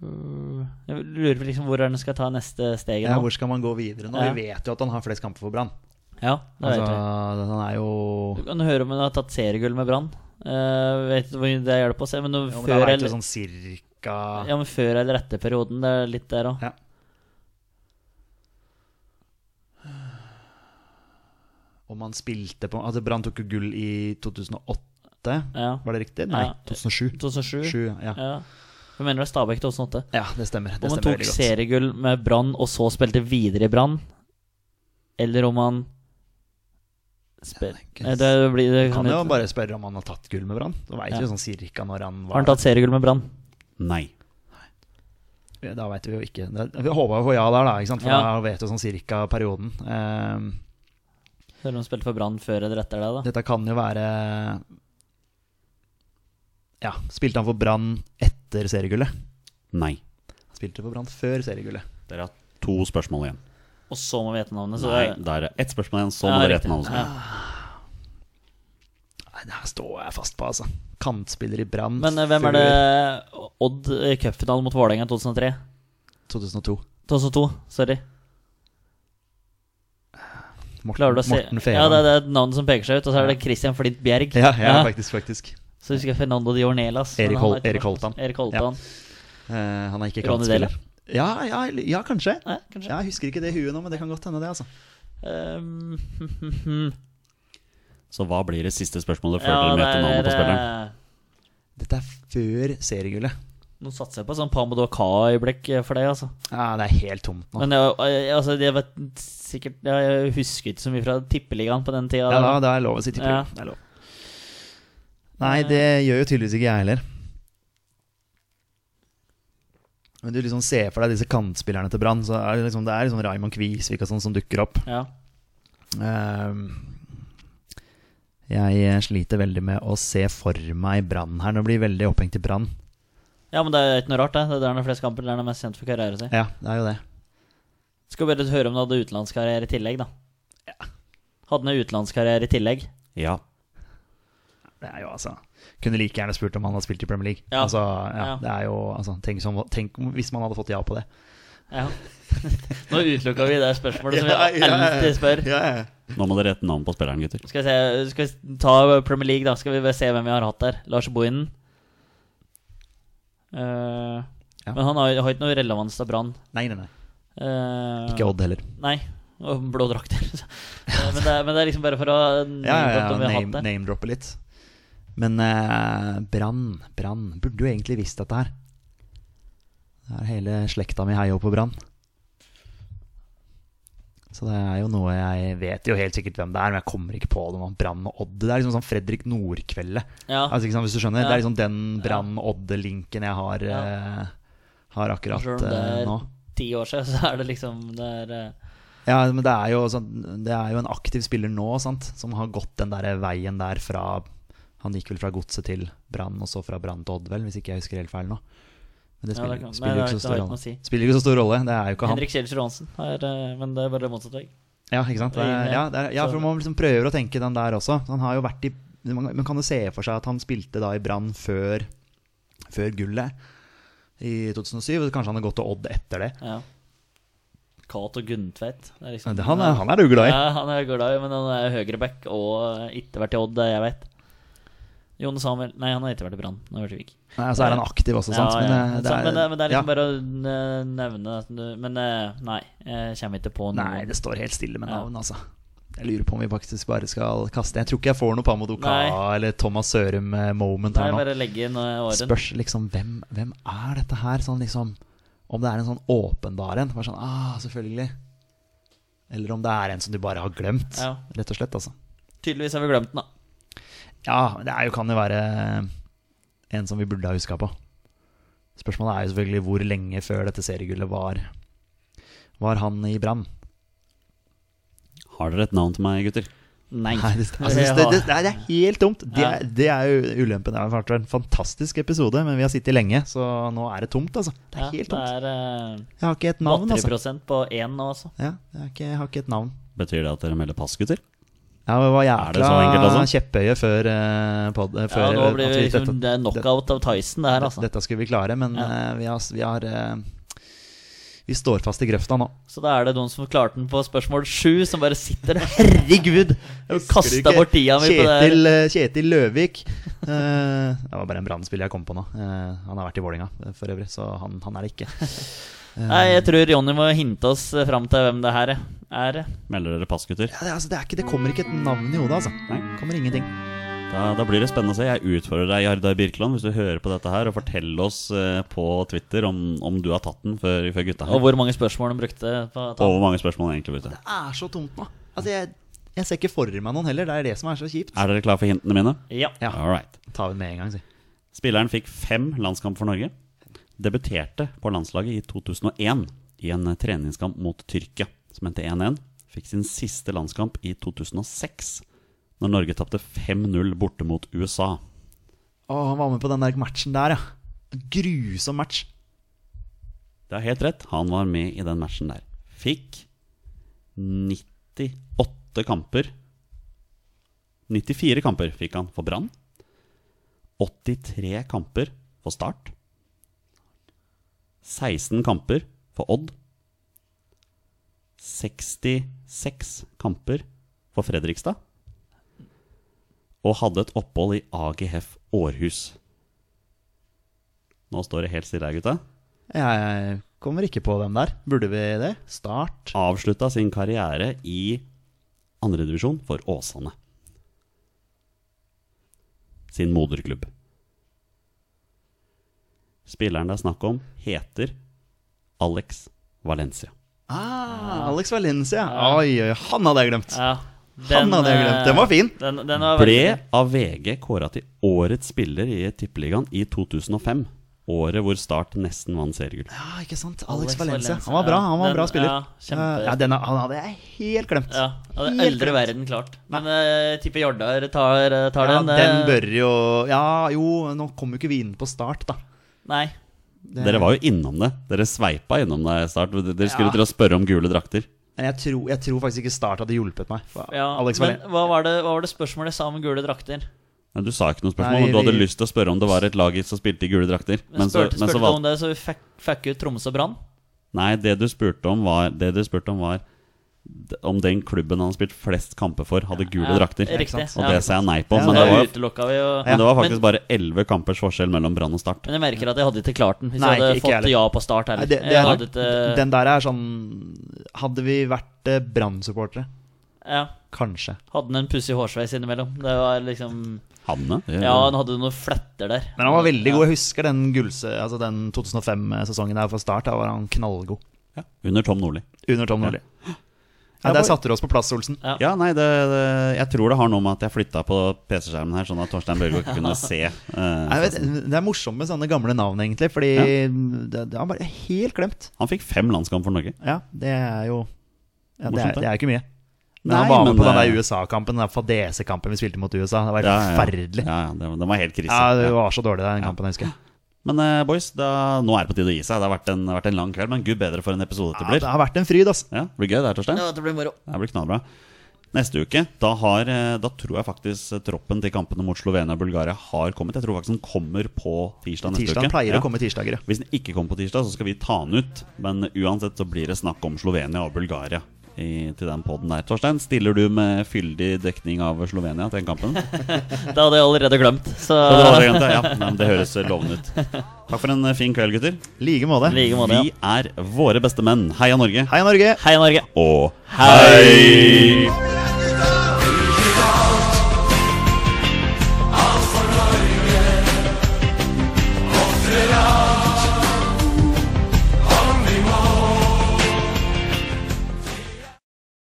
Uh, Jeg lurer på liksom hvor er den skal ta neste steget
Ja,
nå.
hvor skal man gå videre nå?
Ja.
Vi vet jo at han har flest kamper for Brann.
Ja, det
Altså,
vet vi.
han er jo
Du kan høre om hun har tatt seriegull med Brann. Eh, vet du hvor mye det hjelper å se, men, nå
jo, men Da
før,
veit du
eller,
sånn cirka
ja, men før eller etter perioden, det er litt der òg.
Ja. Om han spilte på Altså, Brann tok jo gull i 2008.
Ja.
Var det riktig? Nei,
Ja.
2007.
2007.
Sju, ja.
Ja. Jeg mener det er Stabæk 2008.
ja, det stemmer. Det
Om han
stemmer
tok
veldig godt.
seriegull med Brann og så spilte videre i Brann, eller om han spil...
tenker-
Nei, Det blir det
Kan jo
ikke-
bare spørre om han har tatt gull med Brann. Da veit
Ja.
vi jo sånn cirka når han
Har
var
han tatt seriegull med Brann?
Nei.
Da veit vi jo ikke. Da- Vi håpa jo på ja der, da, ikke sant? for
Ja.
da vet du sånn cirka perioden. Ehm,
Selv om han spilte for Brann før eller etter det, da.
Dette kan jo være Ja, spilte han for Brann etter seriegullet?
Nei.
Han spilte for Brann før seriegullet.
Dere har to spørsmål igjen.
Og så må vi gjette navnet. Så
Nei,
det
det er ett spørsmål igjen, så
Ja,
må dere
riktig.
gjette navnet.
Ja.
Nei, det her står jeg fast på, altså. Kantspiller i Brann
Men eh, hvem
før
er det Odd i cupfinalen mot Vålerenga 2003?
2002.
2002, sorry.
Morten,
Klarer du å se
Morten
Ja,
Fevang.
det, det er navnet som peker seg ut, og så er det Christian Flint Bjerg.
Ja, ja,
Ja.
faktisk. faktisk
Så husker jeg Fernando de Ornelas. men
Erik
han
Hol-
var ikke-
Erik Holtan.
Erik Holtan.
Eh, han er ikke
Ronny
kantspiller. Ja, ja, ja, kanskje.
Nei, kanskje.
Ja, jeg husker ikke det i huet nå, men det kan godt hende, det. altså
[laughs] Um,
Så hva blir det siste spørsmålet før
ja,
dere
det
vet navnet på spilleren?
er eh,
Dette er før seriegullet.
Nå satser jeg på sånn Pamodoka-øyeblikk for deg, altså.
Ja, det er helt tomt nå.
Men jeg, jeg, altså, jeg vet sikkert Jeg husker ikke så mye fra tippeligaen på den tida.
Ja, da,
da.
det er lov å si tipper.
Ja.
Det er lov. Nei, det gjør jo tydeligvis ikke jeg heller. Men du liksom ser for deg disse kantspillerne til Brann. Så er det, liksom, det er liksom Raymond Kvisvik og sånn som dukker opp.
ja.
Ehm, jeg eh, sliter veldig med å se for meg Brann her. Nå blir jeg veldig opphengt i Brann.
ja, men det er ikke noe rart, det. Det er der han har flest kamper, det er der han er mest kjent for karrieren sin.
Ja, det er jo det.
Skal bare høre om du hadde utenlandskarriere i tillegg, da. Hadde han en utenlandskarriere i tillegg?
Ja.
Det er jo altså Kunne like gjerne spurt om han hadde spilt i Premier League.
Ja.
Altså, ja,
Ja.
Det er jo, altså, tenk, som, tenk om- hvis man hadde fått ja på det.
Ja. [laughs] Nå utelukka vi det spørsmålet som
[laughs] Ja,
vi
ja, ja.
alltid spør.
Ja, ja, ja.
Nå må dere gjette navnet på spilleren, gutter.
Skal vi, se, skal vi ta Premier League, da? Skal vi bare se hvem vi har hatt der. Lars Bohinen. Eh,
Ja.
Men han har, har ikke noe relevans til Brann.
Nei, nei, nei.
Eh,
Ikke Odd heller.
Nei. Og blå drakter. [laughs]
[laughs]
Så- Eh, men, det er, men det er liksom bare for å name
Ja, ja,
droppe om vi
ja
har hatt
name-
det.
name-droppe litt. Men eh, Brann, Brann Burde jo egentlig visst dette her. Det er hele slekta mi heier jo på Brann. Så det er jo noe jeg vet jo helt sikkert hvem det er, men jeg kommer ikke på det nå. Brann og Odd. Det er liksom sånn Fredrik Nord-kveldet.
Ja,
Altså, ikke sant, hvis du skjønner?
Ah. Ja.
Det er liksom den Brann-Odd-linken jeg har,
Ja.
eh, har akkurat
selv om det
eh,
er
nå.
ti år siden, så er det liksom det er, eh,
Ja, men det er jo, sånn- det er jo en aktiv spiller nå, sant? som har gått den der veien der fra Han gikk vel fra Godset til Brann, og så fra Brann til Odd, vel, hvis ikke jeg husker helt feil nå. Men det
Ja,
spiller,
det kan-
spiller,
nei,
jo ikke
det
så
har-
stor
det har ikke noe
rolle.
å si.
spiller ikke så stor rolle. Det er jo ikke han.
Henrik Kjeldsrud Hansen, er, eh, men det er bare motsatt vei.
Ja, ikke sant? Det
Ingen,
er, ja,
ja.
det er, ja, for man liksom prøver å tenke den der også. Han har jo vært i Man man kan jo se for seg at han spilte da i Brann før, før gullet i 2007. og Kanskje han har gått til Odd etter det.
Ja. Cato Gunntveit. det er liksom-
Men det- Han er, han er du glad i.
Ja, han er glad i, men han er høyreback og eh, ikke vært i Odd, det jeg vet. Jon Samuel Nei, han har ikke vært i Brann. Han har vært i Vik.
Nei, så er han aktiv også, sant.
Ja, ja.
Men, eh,
Så- men, eh, men det er
ja.
liksom bare å eh, nevne at du- Men eh, nei, jeg kommer ikke på noe.
Nei, det står helt stille med
Ja.
navn, altså. Jeg lurer på om vi faktisk bare skal kaste Jeg tror ikke jeg får noe Pamodoka
Nei.
eller Thomas Sørum eh, moment
Nei,
her nå.
bare legge inn eh, åren.
Spørs liksom hvem, hvem er dette her? Sånn liksom Om det er en sånn åpenbar en. Bare sånn ah, selvfølgelig. Eller om det er en som du bare har glemt.
Ja.
Rett og slett, altså.
Tydeligvis har vi glemt den, da.
Ja, det er jo, kan jo være eh, en som vi burde ha huska på. Spørsmålet er jo selvfølgelig hvor lenge før dette seriegullet var, var han i Brann.
Har dere et navn til meg, gutter?
Nei.
Nei,
[laughs]
det, altså, det, det, det, er- det er helt dumt. Det, er- det er jo ulempen. Det har vært en fantastisk episode, men vi har sittet lenge, så nå er det tomt, altså. Det er helt tomt.
Ja, det er eh,
Jeg har ikke et navn, altså.
80 på én nå, altså.
Ja, jeg, har ikke, jeg har ikke et navn.
Betyr det at dere melder pass, gutter?
Ja, men det var
Er det så enkelt,
jævla
altså?
kjepphøye før, eh, pod, eh, før
Ja, nå blir
at
vi
vi-
liksom Det er knockout av Tyson, det her,
dette,
altså.
dette skulle vi klare, men
Ja.
eh, vi har, vi, har eh, vi står fast i grøfta nå.
Så da er det noen som klarte den på spørsmål sju, som bare sitter der. Herregud! Jeg kasta bort tida mi på det her.
Kjetil, eh, Kjetil Løvik. Eh, [laughs] det var bare en brannspiller jeg kom på nå. Eh, han har vært i Vålinga eh, for øvrig, så han, han er det ikke. Eh,
Nei, jeg tror Jonny må hinte oss eh, fram til hvem det her er. er.
Melder dere pass, gutter?
ja, det, er- altså, det, er ikke, det kommer ikke et navn i hodet, altså.
Nei.
Kommer ingenting.
Da, da blir det spennende å se. Jeg utfordrer deg, Jardar Birkeland, hvis du hører på dette her, og fortell oss eh, på Twitter om, om du har tatt den før, før gutta
Og
her.
hvor mange spørsmål han brukte på å ta
Og hvor mange spørsmål han egentlig brukte.
Det er så tomt nå. Altså, jeg, jeg ser ikke for meg noen heller. Det er det som er så kjipt.
Er dere klare for hintene mine?
Ja.
Ja.
All right.
Ta den med en gang, si.
Spilleren fikk fem landskamp for Norge. Debuterte på landslaget i 2001 i en eh, treningskamp mot Tyrkia, som endte 1-1. Fikk sin siste landskamp i 2006, når Norge tapte 5-0 borte mot USA.
Å, han var med på den der matchen der, ja. Grusom match.
Det er helt rett, han var med i den matchen der. Fikk 98 kamper. 94 kamper fikk han for Brann. 83 kamper for Start. 16 kamper for Odd. 66 kamper for Fredrikstad. Og hadde et opphold i AGF Århus. Nå står det helt stille her, gutta.
Jeg kommer ikke på hvem der. Burde vi det? Start.
avslutta sin karriere i andredivisjon for Åsane. Sin moderklubb. Spilleren det er snakk om, heter Alex Valencia.
Ah, Alex Valencia. Oi, oi, han hadde jeg glemt.
ja.
Han hadde jeg glemt.
eh,
Den var fin.
Den, den var veldig
Ble
fin.
av VG kåra til årets spiller i Tippeligaen i 2005. Året hvor Start nesten vant seriegull.
Ja, ikke sant. Alex,
Alex
Valencia.
Valencia,
Han var bra,
ja.
han var en
Den-
bra spiller.
ja, kjempe-
Ja, den, han hadde jeg helt glemt.
Ja, og det
Helt
eldre
glemt.
verden, klart. Men eh, jeg tipper Jardar tar, eh, tar
Ja,
den.
den
eh,
bør jo Ja, jo, nå kom jo ikke vi inn på start, da.
Nei.
Det-
Dere var jo innom det. Dere sveipa innom det, Start. Dere skulle
Ja.
til å spørre om gule drakter.
Men jeg tror, jeg tror faktisk ikke Start hadde hjulpet meg. For
Ja,
Alex
men
Valen-
hva var, det, hva var det spørsmålet jeg sa om gule drakter?
Nei, Du sa ikke noe spørsmål,
Nei,
men du hadde
vi-
lyst til å spørre om det var et lag som spilte i gule drakter. Men så,
spurte
men så
spurte du
valgte
om det, så vi fikk, fikk ut Tromsø Brann?
Nei, det du spurte om var Det du spurte om var d- Om den klubben han har spilt flest kamper for Hadde gule
Ja,
drakter
Riktig.
sant?
Og
ja.
det sa jeg nei på
Ja,
Men
da
det var,
utelukka vi jo
men det var
men-
faktisk bare 11 kampers forskjell mellom brann og start
Men jeg merker at jeg hadde ikke klart den hvis
Nei,
jeg hadde
ikke jeg
fått
heller.
ja på start
Nei,
heller.
det, det
jeg
er,
hadde ikke-
den der er sånn Hadde vi vært eh, Brann-supportere,
ja,
kanskje.
hadde den en pussig hårsveis innimellom. Det var liksom
Hanne? det-
Ja, han hadde noen fletter der.
Men han var veldig god. Jeg husker den, gulse, altså den 2005-sesongen der for Start. Da var han knallgod.
Under Tom Nordli
Under Tom Nordli. Nei, der satte du oss på plass, Olsen.
Ja.
Ja, nei, det, det, jeg tror det har noe med at jeg flytta på PC-skjermen her, sånn at Torstein Børgo ikke kunne se. eh,
Nei, vet,
festen.
det er morsomt med sånne gamle navn, egentlig. Fordi det, det er bare helt glemt.
han fikk fem landskamp for Norge.
Ja, det er jo ja, det,
Morsomt,
er,
det.
det er jo ikke mye. Men
Nei,
han var
men,
med på den
eh,
der USA-kampen, den der fadese-kampen vi spilte mot USA. Det var
Ja, ja.
forferdelig. Ja,
Ja, ja, det, var- den var helt krise.
det
Ja.
var så dårlig, den kampen, jeg husker jeg.
Men eh, boys, da, nå er det på tide å gi seg. Det har vært en, vært en lang kveld, men gud bedre for en episode det
Ja, det
blir.
har vært en fryd, altså.
Ja, det blir gøy det her, Torstein.
Ja, det blir moro.
Det blir knallbra. Neste uke, da, har, eh, da tror jeg faktisk troppen til kampene mot Slovenia og Bulgaria har kommet. Jeg tror faktisk den kommer på tirsdag neste
Tirsdag
uke.
pleier
Ja.
å komme tirsdager, ja.
Hvis den ikke kommer på tirsdag, så skal vi ta den ut. Men uansett så blir det snakk om Slovenia og Bulgaria i, til den podden der. Torstein, stiller du med fyldig dekning av Slovenia til den kampen? Ja,
Det hadde jeg allerede glemt. Så
det, var det, ja, nei, men det høres lovende ut. Takk for en eh, fin kveld, gutter.
I like måte.
I like måte,
Vi er våre beste menn. Heia Norge.
Hei, Norge!
Hei, Norge.
Og hei!